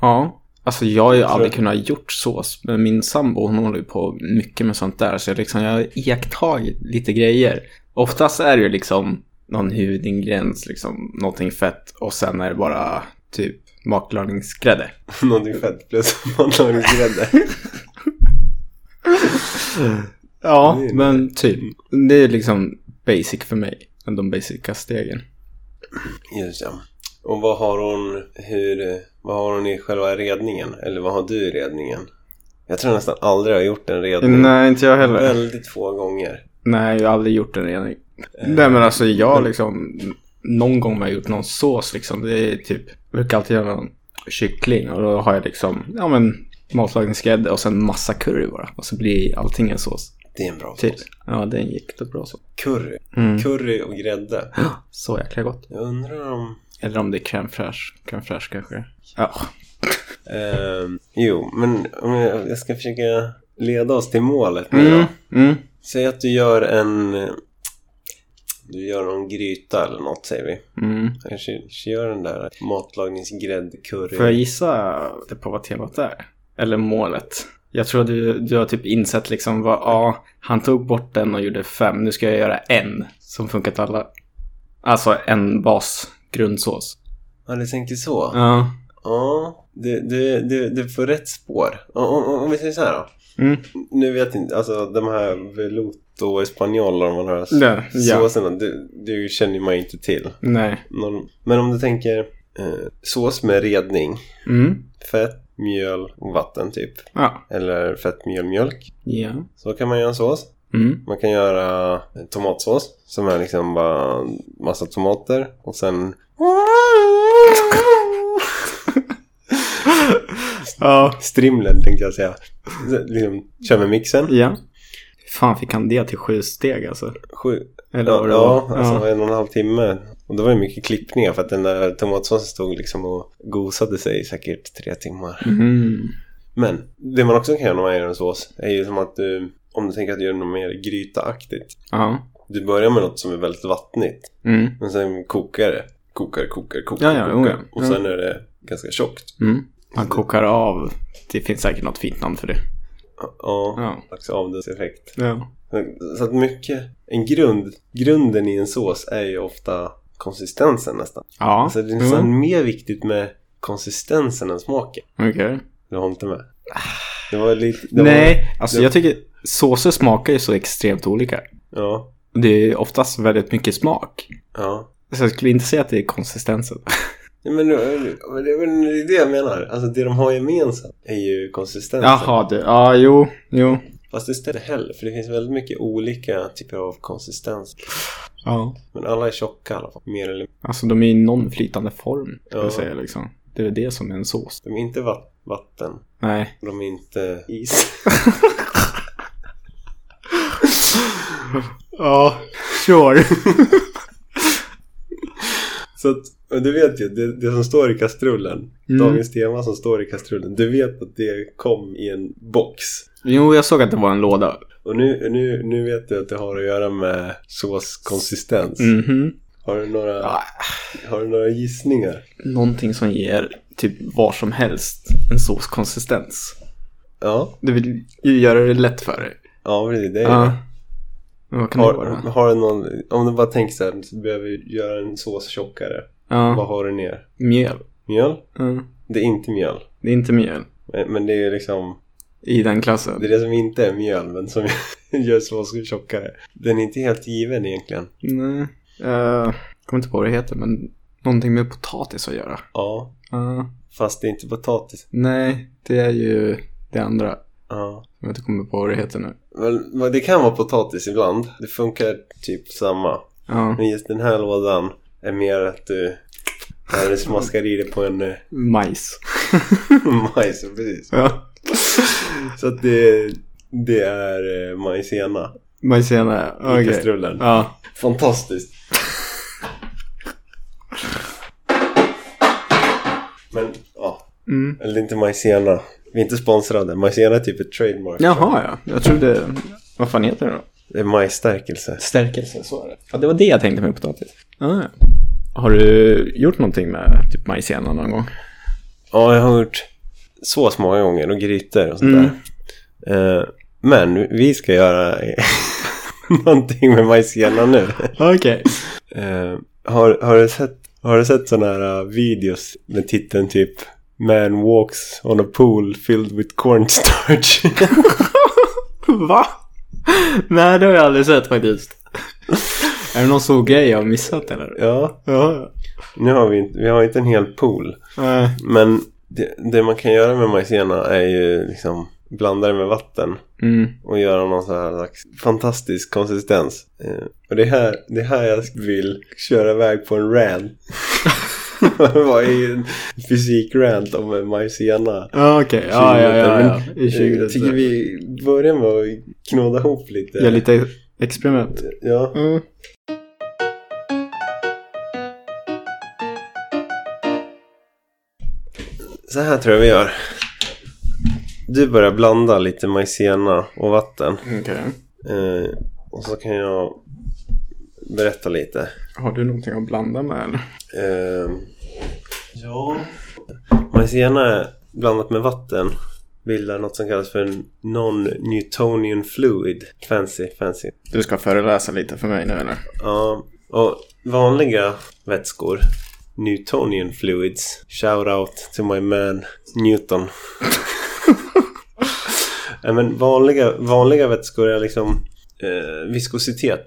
Speaker 1: ja. Alltså jag har ju aldrig
Speaker 2: jag-
Speaker 1: kunnat gjort sås. Men min sambo hon håller ju på mycket med sånt där. Så jag, liksom, jag har iakttagit lite grejer. Oftast är det ju liksom någon huvudingrediens, liksom någonting fett. Och sen är det bara typ matlagningsgrädde.
Speaker 2: Någonting fett plus matlagningsgrädde.
Speaker 1: Ja,
Speaker 2: Det är-
Speaker 1: men typ. Det är liksom basic för mig. De basica stegen.
Speaker 2: Just ja. Och vad har hon, hur, eh, vad har hon i själva redningen? Eller vad har du i redningen? Jag tror nästan aldrig jag har gjort en redning.
Speaker 1: Nej, inte jag heller.
Speaker 2: Väldigt få gånger.
Speaker 1: Nej, jag har aldrig gjort en rening. Nej, men alltså jag liksom... Någon gång har jag gjort någon sås liksom. Det är typ... Jag brukar alltid göra någon kyckling och då har jag liksom... Ja, men matlagningsgrädde och sen massa curry bara. Och så blir allting en sås.
Speaker 2: Det är en bra
Speaker 1: Typ.
Speaker 2: sås.
Speaker 1: Ja, det är en jäkligt bra sås.
Speaker 2: Curry.
Speaker 1: Mm.
Speaker 2: Curry och grädde.
Speaker 1: Så jäkla gott.
Speaker 2: Jag undrar om...
Speaker 1: Eller om det är crème fraîche. Crème fraîche kanske. Ja.
Speaker 2: ehm, jo, men om jag, jag ska försöka leda oss till målet nu då.
Speaker 1: Mm. Mm.
Speaker 2: Säg att du gör en... eh, Du gör någon gryta eller något säger vi.
Speaker 1: Mm.
Speaker 2: Kanske, kanske gör den där matlagningsgräddcurry.
Speaker 1: Får jag gissa det på vad temat är? Eller målet? Jag tror du, du har typ insett liksom vad, ja, han tog bort den och gjorde fem. Nu ska jag göra en som funkar till alla. Alltså en bas grundsås.
Speaker 2: Ja, du tänker så?
Speaker 1: Ja.
Speaker 2: Ja, du, du, du, du får rätt spår. Om, om, om vi säger så här då.
Speaker 1: Mm.
Speaker 2: Nu vet jag inte, alltså de här Veluto Espanol och de här
Speaker 1: Ja, ja.
Speaker 2: såserna, du, du känner man ju inte till.
Speaker 1: Nej.
Speaker 2: Någon, men om du tänker eh, sås med redning,
Speaker 1: Mm.
Speaker 2: fett, mjöl och vatten typ.
Speaker 1: Ja.
Speaker 2: Eller fett, mjöl, mjölk.
Speaker 1: Ja.
Speaker 2: Så kan man göra en sås.
Speaker 1: Mm.
Speaker 2: Man kan göra tomatsås som är liksom bara massa tomater och sen
Speaker 1: Ja.
Speaker 2: strimlen tänkte jag säga. Så, Liksom, kör med mixen.
Speaker 1: Ja. Fan fick han det till sju steg alltså?
Speaker 2: Sju,
Speaker 1: Eller
Speaker 2: Ja,
Speaker 1: vad det
Speaker 2: ja
Speaker 1: var?
Speaker 2: alltså en och en halv timme. Och det var ju mycket klippningar för att den där tomatsåsen stod liksom och gosade sig i säkert tre timmar.
Speaker 1: Mm.
Speaker 2: Men det man också kan göra när man gör en sås är ju som att du, om du tänker att du gör något mer grytaaktigt.
Speaker 1: Ja.
Speaker 2: Du börjar med något som är väldigt vattnigt,
Speaker 1: Mm.
Speaker 2: men sen kokar det. Kokar, kokar, kokar,
Speaker 1: Ja, ja, jo,
Speaker 2: kokar.
Speaker 1: ja.
Speaker 2: Och sen är det ganska tjockt.
Speaker 1: Mm. Man kokar av. Det finns säkert något fint namn för det.
Speaker 2: Ja,
Speaker 1: Ja.
Speaker 2: slags avdelseffekt.
Speaker 1: Ja.
Speaker 2: Så att mycket, en grund, grunden i en sås är ju ofta konsistensen nästan.
Speaker 1: Ja.
Speaker 2: Alltså det är
Speaker 1: Jo.
Speaker 2: nästan mer viktigt med konsistensen än smaken.
Speaker 1: Okej.
Speaker 2: Du har inte med? Det var lite... Det
Speaker 1: Nej, alltså
Speaker 2: det-
Speaker 1: jag tycker såser smakar ju så extremt olika.
Speaker 2: Var, ja.
Speaker 1: Det är oftast väldigt mycket smak.
Speaker 2: Ja.
Speaker 1: Så jag skulle inte säga att det är konsistensen.
Speaker 2: Nej, Men det, men det men det är det jag menar. Alltså det de har gemensamt är ju konsistensen.
Speaker 1: Jaha, du. Ja, jo, jo.
Speaker 2: Fast det ställer heller för det finns väldigt mycket olika typer av konsistens.
Speaker 1: Ja.
Speaker 2: Men alla är tjocka i alla fall. Mer eller mindre.
Speaker 1: Alltså de är ju någon flytande form, ska
Speaker 2: Ja.
Speaker 1: jag säga liksom. Det är väl det som är en sås.
Speaker 2: De är inte va- vatten.
Speaker 1: Nej.
Speaker 2: De är inte is.
Speaker 1: Ja, sure.
Speaker 2: Så att, och du vet ju, det, det som står i kastrullen.
Speaker 1: Mm.
Speaker 2: Dagens tema som står i kastrullen. Du vet att det kom i en box.
Speaker 1: Jo, jag såg att det var en låda.
Speaker 2: Och nu, nu, nu vet jag att det har att göra med såskonsistens.
Speaker 1: Mhm.
Speaker 2: Har, du några,
Speaker 1: Ah.
Speaker 2: har du några gissningar?
Speaker 1: Någonting som ger typ var som helst en sås konsistens.
Speaker 2: Ja,
Speaker 1: Du vill ju göra det lätt för dig.
Speaker 2: ja precis. Det är
Speaker 1: Ja. Men Vad kan det
Speaker 2: har,
Speaker 1: vara?
Speaker 2: har du någon, om du bara tänker så här, så behöver vi göra en sås tjockare. Vad
Speaker 1: Ja,
Speaker 2: har du ner?
Speaker 1: mjöl.
Speaker 2: Mjöl?
Speaker 1: Ja.
Speaker 2: Det är inte mjöl.
Speaker 1: Det är inte mjöl
Speaker 2: Men, men det är ju liksom,
Speaker 1: i den klassen.
Speaker 2: det är det som inte är mjöl men som gör såsen tjockare. Den är inte helt given egentligen.
Speaker 1: Nej. Jag kommer inte på vad det heter, men någonting med potatis att göra.
Speaker 2: Ja,
Speaker 1: Ja.
Speaker 2: fast det är inte potatis.
Speaker 1: nej, det är ju det andra.
Speaker 2: Ja.
Speaker 1: Jag har inte kommit på vad det heter nu.
Speaker 2: Men, men det kan vara potatis ibland. Det funkar typ samma.
Speaker 1: Ja,
Speaker 2: Men just den här lådan är mer att du, när du smaskar i det på en eh,
Speaker 1: majs.
Speaker 2: majs. Precis.
Speaker 1: Ja.
Speaker 2: Så att det, det är eh, majsena
Speaker 1: Majsena,
Speaker 2: i
Speaker 1: okej.
Speaker 2: kastrullen.
Speaker 1: Ja.
Speaker 2: Fantastiskt. Men ja,
Speaker 1: Mm. Mm.
Speaker 2: eller inte majsena. Vi är inte sponsrade. Majsena är typ ett trademark.
Speaker 1: Jaha, ja. Jag trodde... Vad fan heter det då?
Speaker 2: Det är majsstärkelse.
Speaker 1: Stärkelse, så är det. Ja, det var det jag tänkte med potatis. Ah, ja. Har du gjort någonting med typ majsena någon gång?
Speaker 2: Ja, jag har gjort sås många gånger och grytor och sånt
Speaker 1: Mm.
Speaker 2: där. Eh, men vi ska göra någonting med majsena nu.
Speaker 1: Okej.
Speaker 2: Eh, har, har du sett, har du sett sådana här eh, videos med titeln typ Man walks on a pool filled with cornstarch?
Speaker 1: Va? Nej, det har jag aldrig sett faktiskt. Är det någon så grej jag har missat eller?
Speaker 2: ja,
Speaker 1: Ja.
Speaker 2: nu har vi, inte- vi har inte en hel pool.
Speaker 1: ja.
Speaker 2: Men det, det man kan göra med majsena är ju liksom blanda det med vatten.
Speaker 1: Mm.
Speaker 2: och göra någon sån här slags fantastisk konsistens. Eh, och det här, det här jag vill köra iväg på en rant. Vad är en fysik-rant om en majsena?
Speaker 1: Ja, okej. Ja, ja, ja, ja. I
Speaker 2: Jag tycker
Speaker 1: 20
Speaker 2: vi börjar med att knåda ihop lite.
Speaker 1: Gör lite experiment.
Speaker 2: Ja.
Speaker 1: Mm.
Speaker 2: Så här tror jag vi gör. Du börjar blanda lite majsena och vatten.
Speaker 1: Okej.
Speaker 2: Eh, och så kan jag berätta lite.
Speaker 1: Har du någonting att blanda med eller?
Speaker 2: Ehm, ja. Maizena blandat med vatten bildar något som kallas för en non-Newtonian fluid. Fancy, fancy.
Speaker 1: Du ska föreläsa lite för mig nu eller?
Speaker 2: Ja, och vanliga vätskor. Newtonian fluids. Shout out to my man Newton. Nej, men vanliga, vanliga vätskor är liksom eh, viskositet.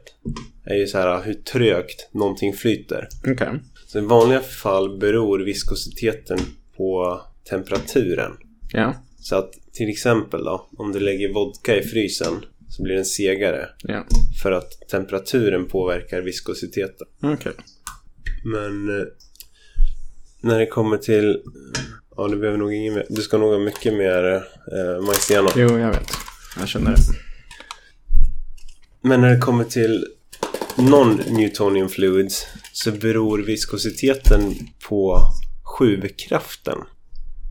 Speaker 2: är ju så här hur trögt någonting flyter.
Speaker 1: Okej.
Speaker 2: Så i vanliga fall beror viskositeten på temperaturen.
Speaker 1: Ja.
Speaker 2: Så att till exempel då, om du lägger vodka i frysen så blir den segare
Speaker 1: Ja.
Speaker 2: för att temperaturen påverkar viskositeten.
Speaker 1: Okej.
Speaker 2: Men eh, när det kommer till... Ja, du behöver nog ingen mer. Du ska nog ha mycket mer eh, majsena.
Speaker 1: Jo, jag vet. Jag känner det.
Speaker 2: Men när det kommer till non-Newtonian fluids så beror viskositeten på sjuvkraften.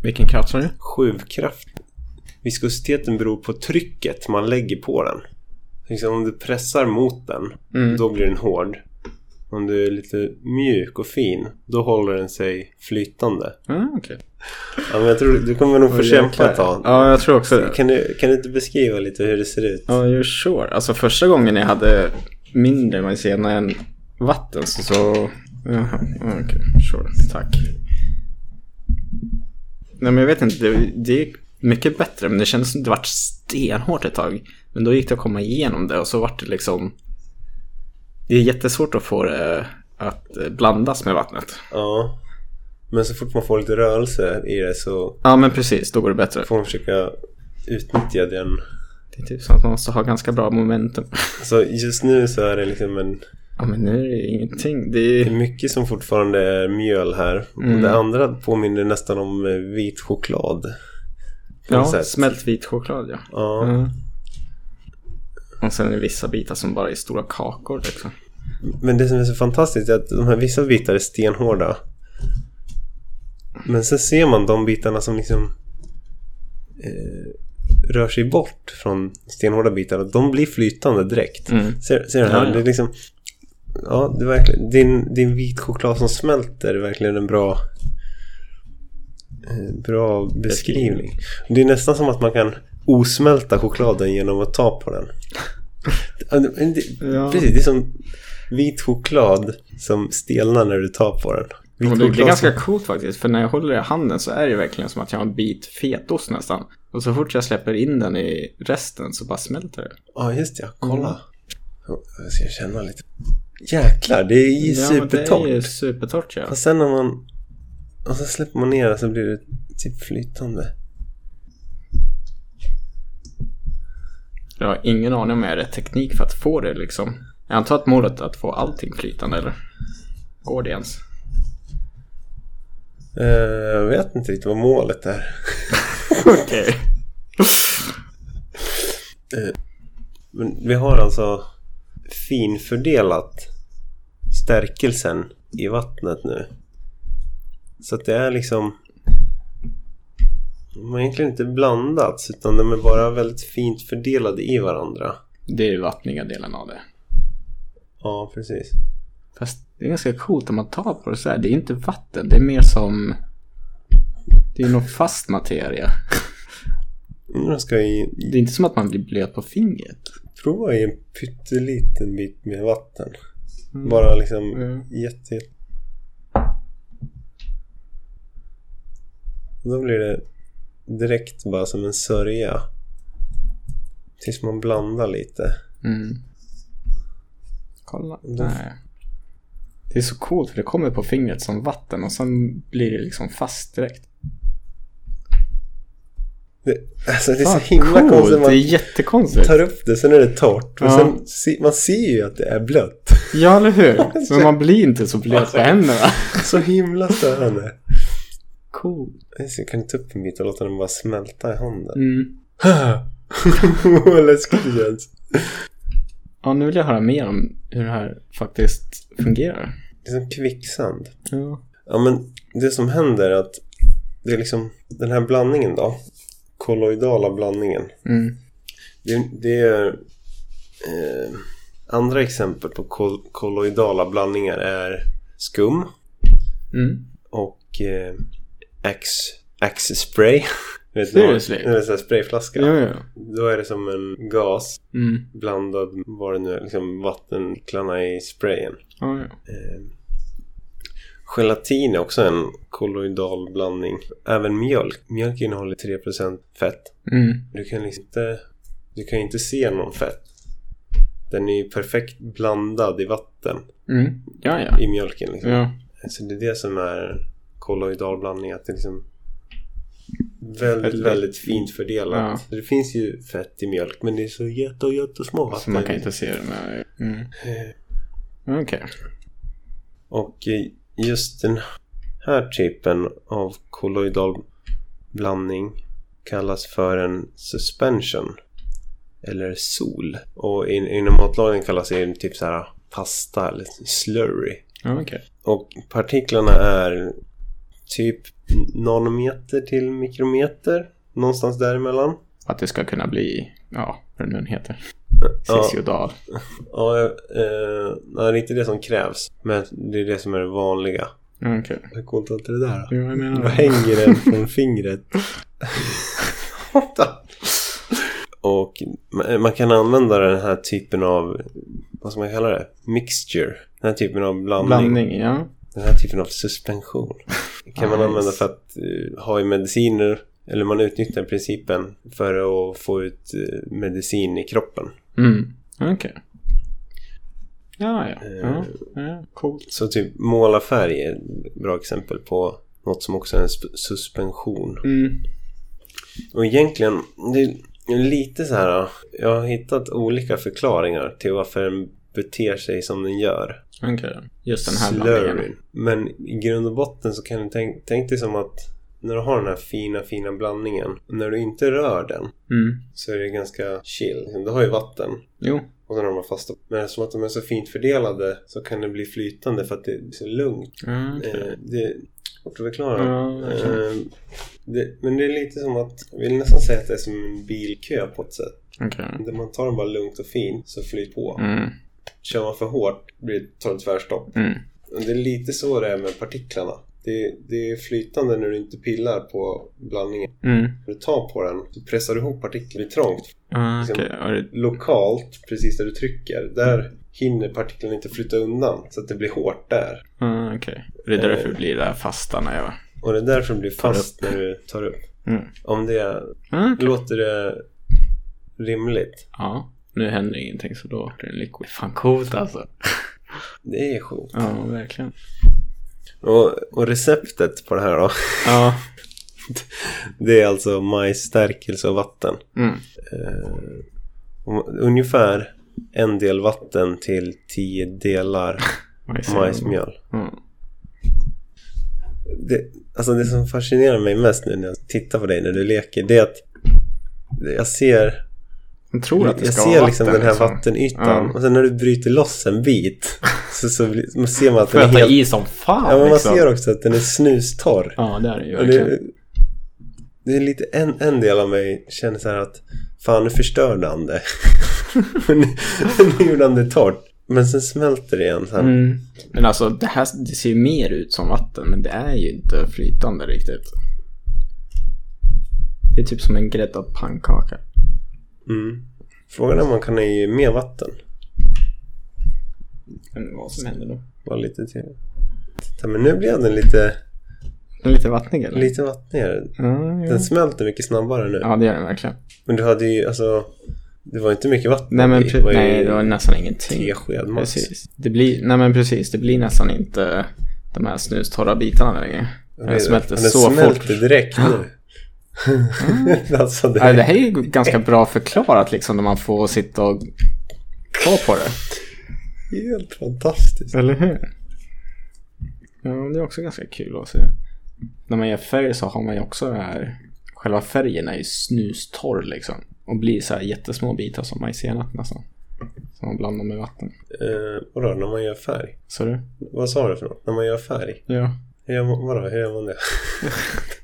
Speaker 1: Vilken kraft sa du?
Speaker 2: sjuvkraft. Viskositeten beror på trycket man lägger på den. Liksom om du pressar mot den,
Speaker 1: Mm.
Speaker 2: då blir den hård. Om du är lite mjuk och fin, då håller den sig flytande.
Speaker 1: Ja, okej.
Speaker 2: Ja, men jag tror du kommer nog få kämpa ett tag.
Speaker 1: Ja, jag tror också det.
Speaker 2: Kan du, kan du inte beskriva lite hur det ser ut?
Speaker 1: Ja, you're sure. Alltså första gången jag hade mindre majsena än vatten så... så... Jaha, ah, okej. Sure. Tack. Nej, men jag vet inte. Det, det gick mycket bättre, men det kändes som det vart stenhårt ett tag. Men då gick det att komma igenom det och så vart det liksom... Det är jättesvårt att få det att eh, blandas med vattnet.
Speaker 2: Ja. Men så fort man får lite rörelse i det så
Speaker 1: Ja, men precis. Då går det bättre.
Speaker 2: får man försöka utnyttja den.
Speaker 1: Det är typ som att man måste ha ganska bra momentum.
Speaker 2: Så just nu så är det liksom en
Speaker 1: Ja, men nu är det ingenting. Det är...
Speaker 2: Det är mycket som fortfarande är mjöl här.
Speaker 1: Mm.
Speaker 2: Och det andra påminner nästan om eh, vit choklad. På något
Speaker 1: Ja,
Speaker 2: sätt.
Speaker 1: smält vit choklad ja.
Speaker 2: Ja.
Speaker 1: Mm. Och sen är det vissa bitar som bara är stora kakor liksom.
Speaker 2: Men det som är så fantastiskt är att de här vissa bitar är stenhårda. Men sen ser man de bitarna som liksom eh, rör sig bort från stenhårda bitarna. De blir flytande direkt.
Speaker 1: Mm.
Speaker 2: Ser, ser du här?
Speaker 1: Ja, ja.
Speaker 2: Det är liksom... Ja, det är verkligen, din, din vit choklad som smälter är verkligen en bra, eh, bra beskrivning. Det är nästan som att man kan osmälta chokladen genom att ta på den. Ja, det- men det,
Speaker 1: Ja.
Speaker 2: Precis, det är som vit choklad som stelnar när du tar på den. Vit
Speaker 1: Och det, det är
Speaker 2: choklad
Speaker 1: ganska
Speaker 2: som,
Speaker 1: coolt faktiskt, för när jag håller det i handen så är det verkligen som att jag har en bit fetost nästan. Och så fort jag släpper in den i resten så bara smälter det.
Speaker 2: Ja, just det. ja,
Speaker 1: Mm.
Speaker 2: Kolla. Jag ska känna lite. Jäklar, det är ju
Speaker 1: Ja, men
Speaker 2: supertorrt.
Speaker 1: Det är ju supertorrt ja.
Speaker 2: Och sen när man... Och så släpper man ner det så blir det typ flytande.
Speaker 1: Jag har ingen aning om jag är rätt teknik för att få det liksom. Jag antar att målet är att få allting flytande eller? Går det ens?
Speaker 2: Eh, jag vet inte riktigt vad målet är.
Speaker 1: Okej.
Speaker 2: Men vi har alltså finfördelat stärkelsen i vattnet nu. Så att det är liksom... De har egentligen inte blandats utan de är bara väldigt fint fördelade i varandra.
Speaker 1: Det är ju vattniga delen av det.
Speaker 2: Ja, precis.
Speaker 1: Fast det är ganska coolt om man tar på det så här. Det är inte vatten, det är mer som... Det är nog fast materia.
Speaker 2: Undrar om jag ska i,
Speaker 1: Det är inte som att man blir blöt på fingret.
Speaker 2: prova i en pytteliten bit med vatten. Bara liksom
Speaker 1: Mm.
Speaker 2: jätte, jätte... Då blir det direkt bara som en sörja. Tills man blandar lite.
Speaker 1: Mm. Kolla. Nej. Det är så coolt för det kommer på fingret som vatten och sen blir det liksom fast direkt.
Speaker 2: Det, alltså det är
Speaker 1: Fan,
Speaker 2: så himla
Speaker 1: coolt.
Speaker 2: konstigt.
Speaker 1: Det är
Speaker 2: Man
Speaker 1: jättekonstigt.
Speaker 2: tar upp det, sen är det torrt. Men
Speaker 1: Ja.
Speaker 2: sen, se- man ser ju att det är blött.
Speaker 1: Ja, eller hur? Men man blir inte så blöt på händerna.
Speaker 2: Så himla störande.
Speaker 1: Coolt.
Speaker 2: Jag kan ta upp en bit och låta den bara smälta i handen.
Speaker 1: Mm.
Speaker 2: Vad läskigt det känns.
Speaker 1: Ja, nu vill jag höra mer om hur det här faktiskt fungerar.
Speaker 2: Det är som kvicksand.
Speaker 1: Ja.
Speaker 2: Ja men det som händer är att det är liksom den här blandningen då. Kolloidala blandningen.
Speaker 1: Mm.
Speaker 2: Det, det är... Eh, andra exempel på kol- kolloidala blandningar är skum
Speaker 1: Mm.
Speaker 2: och eh, Axe-spray. Vet du vad?
Speaker 1: Seriously?
Speaker 2: Det är en sån här sprayflaska.
Speaker 1: Ja, ja.
Speaker 2: Då är det som en gas
Speaker 1: Mm.
Speaker 2: blandad med vad det nu är, liksom vattenklarna i sprayen.
Speaker 1: Ja, ja.
Speaker 2: Eh, gelatin är också en kolloidal blandning. Även mjölk. Mjölk innehåller 3% fett.
Speaker 1: Mm.
Speaker 2: Du kan liksom inte, du kan ju inte se någon fett. Den är ju perfekt blandad i vatten
Speaker 1: Mm. Ja, ja.
Speaker 2: i mjölken. Liksom.
Speaker 1: Ja.
Speaker 2: Så det är det som är kolloidal blandning. Att det liksom väldigt, väldigt fint fördelat. Det finns ju fett i mjölk men det är så jätte, jättesmå
Speaker 1: Så
Speaker 2: vatten. Eh,
Speaker 1: man kan inte se det med... Mm. Okej.
Speaker 2: Och eh, just den här typen av kolloidal blandning kallas för en suspension. Eller sol. Och in, inom matlagning kallas det ju typ så här pasta eller slurry.
Speaker 1: Ja, okej.
Speaker 2: Och partiklarna är typ nanometer till mikrometer. Någonstans däremellan.
Speaker 1: Att det ska kunna bli, ja, vad den nu heter.
Speaker 2: Ja.
Speaker 1: Cesiodal.
Speaker 2: Ja, eh, nej, det är inte det som krävs. Men det är det som är det vanliga.
Speaker 1: Ja, okej.
Speaker 2: Hur coolt är inte det där då?
Speaker 1: Jo, jag menar
Speaker 2: Då
Speaker 1: det.
Speaker 2: hänger den från fingret. Och ma- man kan använda den här typen av, vad ska man kalla det? Mixture. Den här typen av blandning.
Speaker 1: Blandning, ja.
Speaker 2: Den här typen av suspension. Kan man
Speaker 1: Nice.
Speaker 2: använda för att eh, ha i mediciner. Eller man utnyttjar principen för att få ut eh, medicin i kroppen.
Speaker 1: Mm. Okej. Ja, ja.
Speaker 2: Eh.
Speaker 1: ja. ja. Coolt.
Speaker 2: Så typ målarfärg är ett bra exempel på något som också är en sp- suspension.
Speaker 1: Mm.
Speaker 2: Och egentligen, det är lite så här. Jag har hittat olika förklaringar till varför den beter sig som den gör.
Speaker 1: Okej. Just den här blandningen.
Speaker 2: Slurryn. Men i grund och botten så kan du tänka tänk dig som att när du har den här fina, fina blandningen. När du inte rör den
Speaker 1: Mm.
Speaker 2: så är det ganska chill. Du har ju vatten.
Speaker 1: Jo.
Speaker 2: Och sen har de fasta. Men eftersom att de är så fint fördelade så kan det bli flytande för att det är så lugnt.
Speaker 1: Ja, okej.
Speaker 2: Eh, det är svårt att förklara.
Speaker 1: Ja, verkligen.
Speaker 2: eh, det, men det är lite som att, jag vill nästan säga att det är som en bilkö på ett sätt.
Speaker 1: Okej.
Speaker 2: Där man tar den bara lugnt och fint så flyt på.
Speaker 1: Mm.
Speaker 2: Kör man för hårt blir det tar det tvärstopp.
Speaker 1: Mm.
Speaker 2: Och Det är lite så det är med partiklarna. Det, det är flytande när du inte pillar på blandningen.
Speaker 1: Mm.
Speaker 2: När du tar på den så pressar du ihop partiklarna. Det blir trångt.
Speaker 1: Ah,
Speaker 2: Liksom-
Speaker 1: Okej. Ja, det-
Speaker 2: Lokalt, precis där du trycker, där hinner partiklarna inte flytta undan. Så att det blir hårt där.
Speaker 1: ah, okej. Det är därför det blir det här fasta när jag...
Speaker 2: Och det är därför det blir fast när du tar upp.
Speaker 1: Mm.
Speaker 2: Om det
Speaker 1: Ah, okej.
Speaker 2: låter det rimligt.
Speaker 1: Ja. Nu händer ingenting så då blir det en liquid. Fan coolt alltså.
Speaker 2: Det är sjukt.
Speaker 1: Ja, verkligen.
Speaker 2: Och, och receptet på det här då?
Speaker 1: Ja.
Speaker 2: Det är alltså majsstärkelse och vatten.
Speaker 1: Mm.
Speaker 2: Eh, om- ungefär en del vatten till tio delar majsmjöl.
Speaker 1: Mm.
Speaker 2: Det, alltså det som fascinerar mig mest nu när jag tittar på dig när du leker det är att jag ser,
Speaker 1: Jag tror Oh, att det
Speaker 2: jag
Speaker 1: ska
Speaker 2: ser
Speaker 1: vara
Speaker 2: liksom
Speaker 1: vatten,
Speaker 2: den här
Speaker 1: liksom.
Speaker 2: vattenytan
Speaker 1: Ja.
Speaker 2: och sen när du bryter loss en bit så, så blir- man ser man att
Speaker 1: Får
Speaker 2: den är
Speaker 1: jag ta
Speaker 2: helt...
Speaker 1: i som fan
Speaker 2: Ja, men man
Speaker 1: liksom.
Speaker 2: ser också att den är snustorr.
Speaker 1: Ja, det är det ju
Speaker 2: Och det,
Speaker 1: verkligen.
Speaker 2: det är lite en, en del av mig känner så här att fan nu förstörde han det. Men nu, nu gjorde han det torrt. Men sen smälter det igen. Så här.
Speaker 1: Mm. Men alltså det här det ser ju mer ut som vatten men det är ju inte flytande riktigt. Det är typ som en gräddad pannkaka.
Speaker 2: Mm. Frågan är om man kan ha i mer vatten.
Speaker 1: Men vad som händer då?
Speaker 2: Bara lite till. Titta, men nu blev den lite,
Speaker 1: Den är lite vattnig eller?
Speaker 2: lite vattnigare.
Speaker 1: Ja, ja.
Speaker 2: Den smälter mycket snabbare nu.
Speaker 1: Mm. ja, det gör den verkligen.
Speaker 2: Men du hade ju alltså... Det var inte mycket vatten
Speaker 1: Nej men
Speaker 2: i.
Speaker 1: pre-
Speaker 2: var ju
Speaker 1: nej, det var nästan ingenting.
Speaker 2: Tesked max.
Speaker 1: Precis. Det blir, nej men precis, det blir nästan inte de här snustorra bitarna längre.
Speaker 2: Jag vet
Speaker 1: Den
Speaker 2: det.
Speaker 1: smälter
Speaker 2: Den
Speaker 1: så
Speaker 2: smälter
Speaker 1: fort.
Speaker 2: direkt nu. alltså det,
Speaker 1: Ja, det här är ju ganska bra förklarat liksom när man får sitta och ta på det.
Speaker 2: är helt fantastiskt.
Speaker 1: Eller hur? Ja, det är också ganska kul att se. När man gör färg så har man ju också det här. Själva färgen är ju snustorr liksom. Och blir så här jättesmå bitar som majsenap nästan. alltså. Som man blandar med vatten.
Speaker 2: Eh, vadå, när man gör färg?
Speaker 1: Så du?
Speaker 2: Vad sa du för något? När man gör färg?
Speaker 1: Ja.
Speaker 2: Hur gör man, vadå, hur gör man det?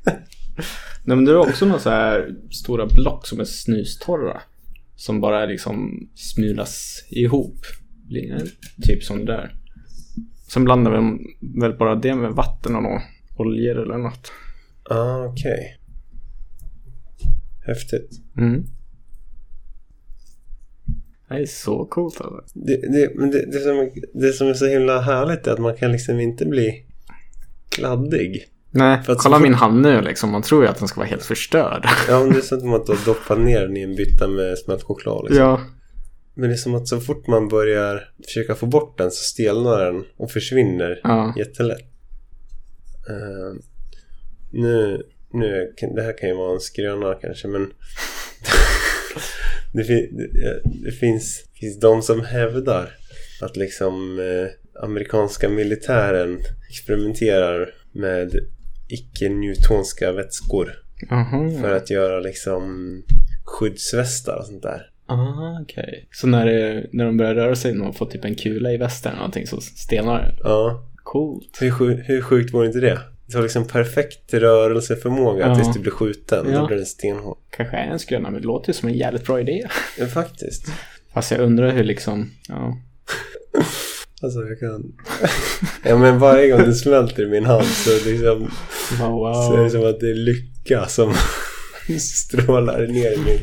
Speaker 1: Nej, men det är också några så här stora block som är snustorra. Som bara liksom smulas ihop. Blir en Typ som det där. Sen blandar vi väl bara det med vatten och några oljor eller något.
Speaker 2: Ah, okej. Häftigt.
Speaker 1: Mm. Det är så coolt alltså.
Speaker 2: Det, det, men det, det, som, det som är så himla härligt är att man kan liksom inte bli kladdig.
Speaker 1: Nej,
Speaker 2: För att-
Speaker 1: kolla min hand nu liksom. Man tror ju att den ska vara helt förstörd.
Speaker 2: Ja, men det är som att man då doppar ner den i en bytta med smält choklad. Liksom.
Speaker 1: ja.
Speaker 2: Men det är som att så fort man börjar försöka få bort den så stelnar den och försvinner
Speaker 1: ja.
Speaker 2: jättelätt. Eh, nu, nu, kan- det här kan ju vara en skröna kanske men det, fin, det, eh, det finns, finns de som hävdar att liksom eh, amerikanska militären experimenterar med icke-newtonska vätskor
Speaker 1: Aha.
Speaker 2: för att göra liksom skyddsvästar och sånt där.
Speaker 1: Ah, okej. Så när, det, när de börjar röra sig, när man får typ en kula i västen eller någonting så stelnar det.
Speaker 2: Ja,
Speaker 1: Coolt.
Speaker 2: hur, sju, hur sjukt vore inte det? Du har liksom perfekt rörelseförmåga
Speaker 1: Ja.
Speaker 2: tills du blir skjuten. Då
Speaker 1: Ja.
Speaker 2: blir den stenhård.
Speaker 1: Kanske är en skröna, men det låter ju som en jävligt bra idé.
Speaker 2: Ja, faktiskt.
Speaker 1: Fast jag undrar hur liksom, ja.
Speaker 2: Alltså jag kan... ja men varje gång det smälter i min hand så, liksom,
Speaker 1: Bara, Wow.
Speaker 2: så är det som att det är lycka som strålar ner i min,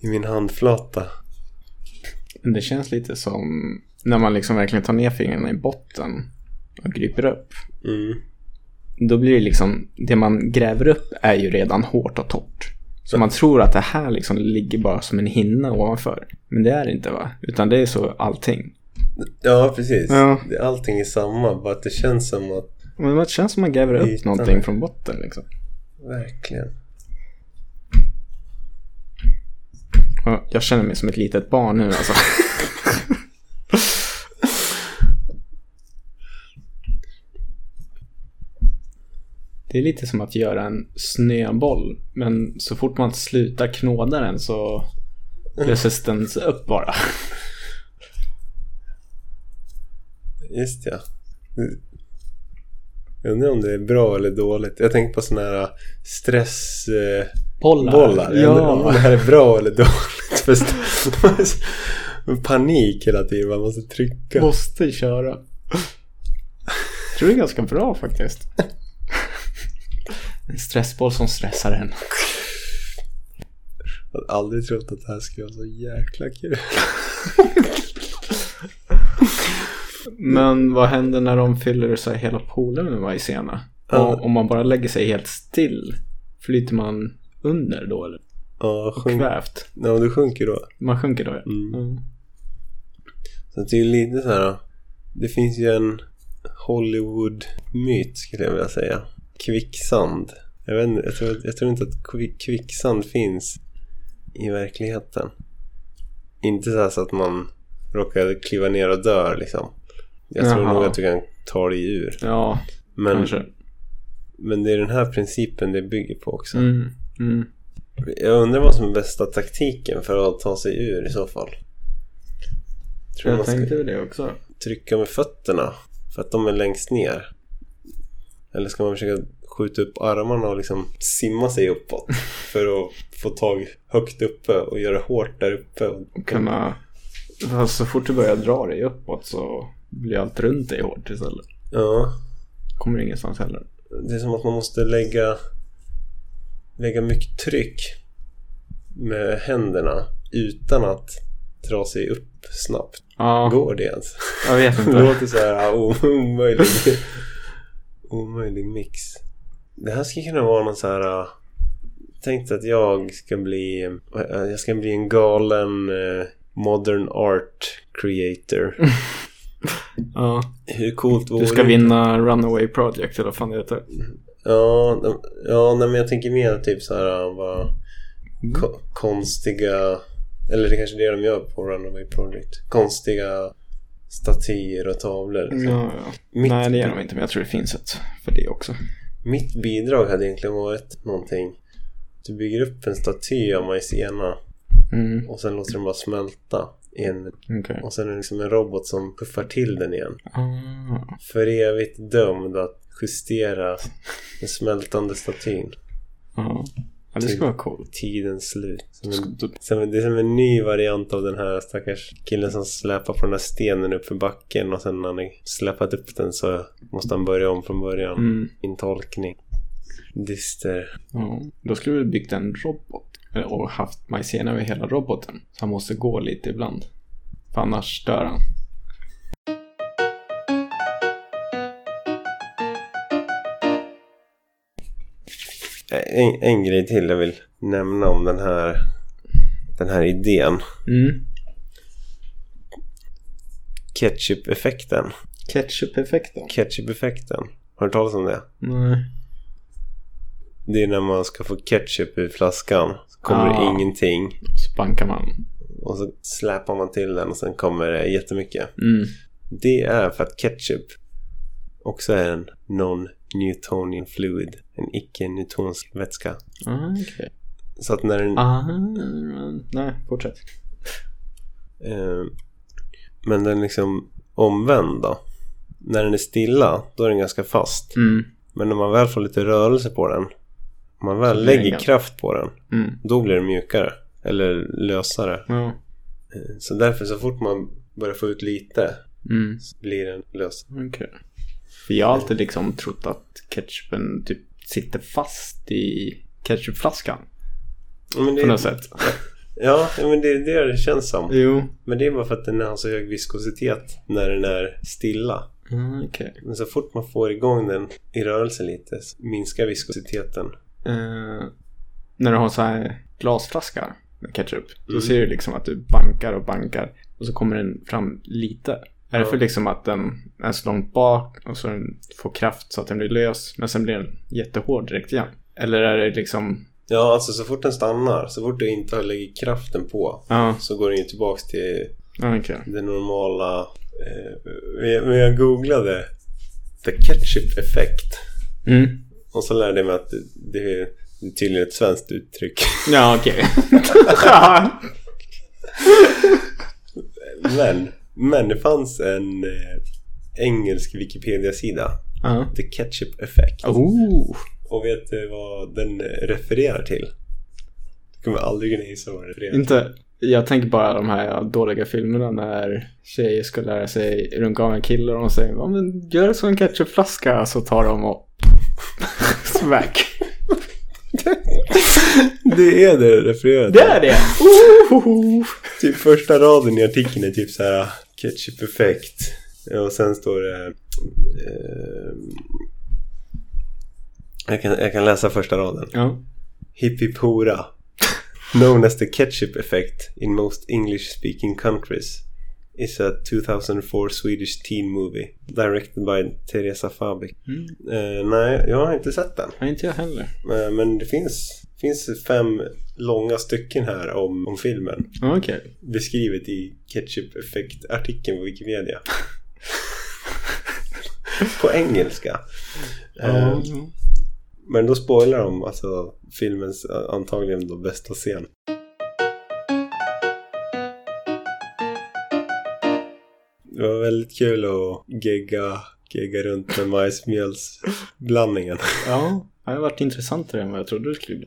Speaker 2: i min handflata.
Speaker 1: Men det känns lite som när man liksom verkligen tar ner fingrarna i botten och griper upp.
Speaker 2: Mm.
Speaker 1: Då blir det liksom, det man gräver upp är ju redan hårt och torrt. Så man tror att det här liksom ligger bara som en hinna ovanför. Men det är det inte va? Utan det är så allting.
Speaker 2: Ja precis.
Speaker 1: Ja.
Speaker 2: Det- Allting är samma bara att det känns som att
Speaker 1: Men det känns som man gräver upp
Speaker 2: Ytan.
Speaker 1: någonting från botten liksom.
Speaker 2: verkligen.
Speaker 1: Ja, Jag känner mig som ett litet barn nu alltså. Det är lite som att göra en snöboll. Men så fort man slutar knåda den så löses den upp bara.
Speaker 2: Just ja. Jag undrar om det är bra eller dåligt. Jag tänker på sådana här äh, stressbollar.
Speaker 1: Bollar.
Speaker 2: Jag undrar om
Speaker 1: Ja.
Speaker 2: det här är bra eller dåligt. För st- panik hela tiden. Man måste trycka.
Speaker 1: Måste köra. Jag tror det är ganska bra faktiskt. En stressboll som stressar en.
Speaker 2: Jag hade aldrig trott att det här skulle vara så jäkla kul. Mm.
Speaker 1: Men vad händer när de fyller sig hela poolen med majsena? Och om man bara lägger sig helt still, flyter man under då eller?
Speaker 2: Ja, sjunk...
Speaker 1: Kvävt.
Speaker 2: ja du sjunker då.
Speaker 1: Man sjunker då ja.
Speaker 2: Mm.
Speaker 1: Mm.
Speaker 2: Så det är ju lite så här. då. Det finns ju en Hollywood-myt skulle jag vilja säga. Kvicksand. Jag, vet, inte- jag, tror, jag tror inte att kvi- kvicksand finns i verkligheten. Inte så, här så att man råkar kliva ner och dör liksom. Jag tror
Speaker 1: Jaha.
Speaker 2: nog att du kan ta dig ur.
Speaker 1: Ja,
Speaker 2: Men,
Speaker 1: kanske.
Speaker 2: men det är den här principen det bygger på också.
Speaker 1: Mm. Mm.
Speaker 2: Jag undrar vad som är bästa taktiken för att ta sig ur i så fall. Tror
Speaker 1: Jag
Speaker 2: man ska-
Speaker 1: tänkte väl det också.
Speaker 2: trycka med fötterna för att de är längst ner? Eller ska man försöka skjuta upp armarna och liksom simma sig uppåt för att få tag högt uppe och göra hårt där uppe. Och
Speaker 1: Kunna... Fast Så fort du börjar dra dig uppåt så blir allt runt dig hårt istället.
Speaker 2: Ja,
Speaker 1: Kommer ingenstans heller.
Speaker 2: det är som att man måste lägga, lägga mycket tryck med händerna utan att dra sig upp snabbt.
Speaker 1: Ja,
Speaker 2: Går det ens?
Speaker 1: jag vet
Speaker 2: Det
Speaker 1: inte.
Speaker 2: låter så här ja, o- omöjlig, omöjlig mix. Det här skulle kunna vara någon så här... ja, Tänk dig att jag ska bli... eh, Jag ska bli en galen eh, modern art creator.
Speaker 1: Ja.
Speaker 2: Hur coolt vore
Speaker 1: Du ska
Speaker 2: det? Mm.
Speaker 1: vinna Runaway Project eller vad fan det heter.
Speaker 2: Ja, de- ja nej, men jag tänker mer typ så här ja, bara
Speaker 1: Mm.
Speaker 2: ko- konstiga... Eller det kanske är det de gör på Runaway Project. Konstiga statyer och tavlor. liksom.
Speaker 1: Ja, ja.
Speaker 2: Mitt-
Speaker 1: Nej, det gör de inte, men jag tror det finns ett för det också.
Speaker 2: Mitt bidrag hade egentligen varit någonting. Du bygger upp en staty av Maizena
Speaker 1: Mm,
Speaker 2: och sen låter den bara smälta. i en-
Speaker 1: okej.
Speaker 2: Och sen är det liksom en robot som puffar till den igen.
Speaker 1: Ah.
Speaker 2: För evigt dömd att justera den smältande statyn.
Speaker 1: Ja. ja, det skulle vara coolt.
Speaker 2: Tidens slut. Som en,
Speaker 1: Sk-
Speaker 2: som en, det typ- är som en ny variant av den här stackars killen som släpar på den här stenen upp för backen och sen när han har släpat upp den så måste han börja om från början.
Speaker 1: Mm.
Speaker 2: Intolkning. Dyster.
Speaker 1: Ja. Då skulle vi byggt en robot eh, och haft Maizena över hela roboten. Så han måste gå lite ibland. För annars dör han.
Speaker 2: En, en grej till jag vill nämna om den här, den här idén.
Speaker 1: Mm.
Speaker 2: Ketchup-effekten.
Speaker 1: Ketchup-effekten.
Speaker 2: Ketchup-effekten. Har du talat om det?
Speaker 1: Nej.
Speaker 2: Det är när man ska få ketchup ur flaskan. Så kommer
Speaker 1: Ah.
Speaker 2: det ingenting.
Speaker 1: Så bankar man.
Speaker 2: Och så släpar man till den och sen kommer det jättemycket.
Speaker 1: Mm.
Speaker 2: Det är för att ketchup också är en non-Newtonian fluid. En icke-Newtonsk vätska.
Speaker 1: Ah, okej.
Speaker 2: Så att när den...
Speaker 1: Ah, nej, fortsätt.
Speaker 2: Eh, men den liksom omvänd då. När den är stilla, då är den ganska fast.
Speaker 1: Mm.
Speaker 2: Men när man väl får lite rörelse på den, om man väl
Speaker 1: Så blir den
Speaker 2: lägger
Speaker 1: gam-
Speaker 2: kraft på den,
Speaker 1: Mm.
Speaker 2: då blir den mjukare. Eller lösare.
Speaker 1: Ja.
Speaker 2: Eh, Så därför så fort man börjar få ut lite
Speaker 1: Mm.
Speaker 2: så blir den lös.
Speaker 1: Okej. För jag har alltid liksom trott att ketchupen typ sitter fast i ketchupflaskan.
Speaker 2: Ja, Men det,
Speaker 1: På något sätt.
Speaker 2: ja, ja, men det är det det känns som.
Speaker 1: Jo.
Speaker 2: Men det är bara för att den har så hög viskositet när den är stilla.
Speaker 1: Ah, Okej.
Speaker 2: Men så fort man får igång den i rörelse lite så minskar viskositeten.
Speaker 1: Eh, när du har så här glasflaska med ketchup. Då
Speaker 2: Mm.
Speaker 1: ser du liksom att du bankar och bankar och så kommer den fram lite. Är det
Speaker 2: Ja.
Speaker 1: för liksom att den är så långt bak och så den får kraft så att den blir lös men sen blir den jättehård direkt igen? Eller är det liksom...
Speaker 2: Ja, alltså så fort den stannar, så fort du inte har lägger kraften på
Speaker 1: Ja,
Speaker 2: så går den ju tillbaks till
Speaker 1: ah, okej.
Speaker 2: det normala. Eh, men- men jag googlade the ketchup effect
Speaker 1: Mm.
Speaker 2: och så lärde jag mig att det, det är tydligen ett svenskt uttryck.
Speaker 1: Ja, okej.
Speaker 2: Men, men det fanns en eh, engelsk Wikipedia-sida,
Speaker 1: Ja.
Speaker 2: the ketchup effect.
Speaker 1: Oh.
Speaker 2: Och vet du vad den refererar till? Du kommer aldrig kunna gissa vad den refererar till.
Speaker 1: Inte, jag tänker bara de här dåliga filmerna när tjejer ska lära sig runka av en kille och de säger ja, men gör det som en ketchupflaska så tar de och smack.
Speaker 2: Det är det den refererar till.
Speaker 1: Det är det! Ohoho.
Speaker 2: Typ första raden i artikeln är typ så här ketchup effekt. Och sen står det... Eh, jag, kan, jag kan läsa första raden.
Speaker 1: Ja.
Speaker 2: Hippipora. Known as the ketchup effect in most English speaking countries. Is a 2004 Swedish teen movie. Directed by Teresa Fabik.
Speaker 1: Mm.
Speaker 2: Eh, nej, jag har inte sett den.
Speaker 1: Nej, inte jag heller.
Speaker 2: Eh, men det finns, finns fem långa stycken här om, om filmen
Speaker 1: Ja, Okej.
Speaker 2: beskrivet i ketchup effekt-artikeln på Wikipedia. på engelska. Eh, men då spoilar de alltså filmens eh, antagligen då bästa scen. Det var väldigt kul att gegga gegga runt med majsmjölsblandningen.
Speaker 1: Ja, det har varit intressantare än vad jag trodde det skulle bli.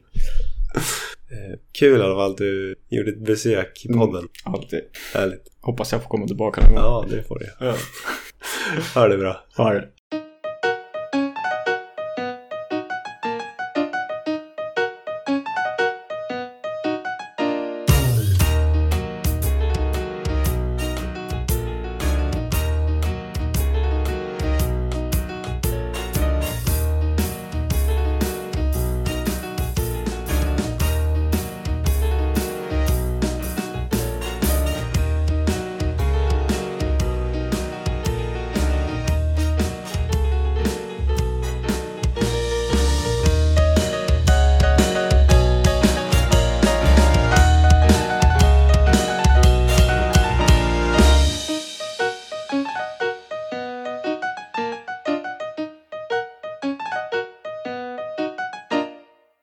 Speaker 2: Eh, Kul i alla fall att du gjorde ett besök i podden.
Speaker 1: Alltid.
Speaker 2: Härligt.
Speaker 1: Hoppas jag får komma tillbaka någon gång.
Speaker 2: Ja, det får du.
Speaker 1: Ja.
Speaker 2: Ha det bra.
Speaker 1: Ha det.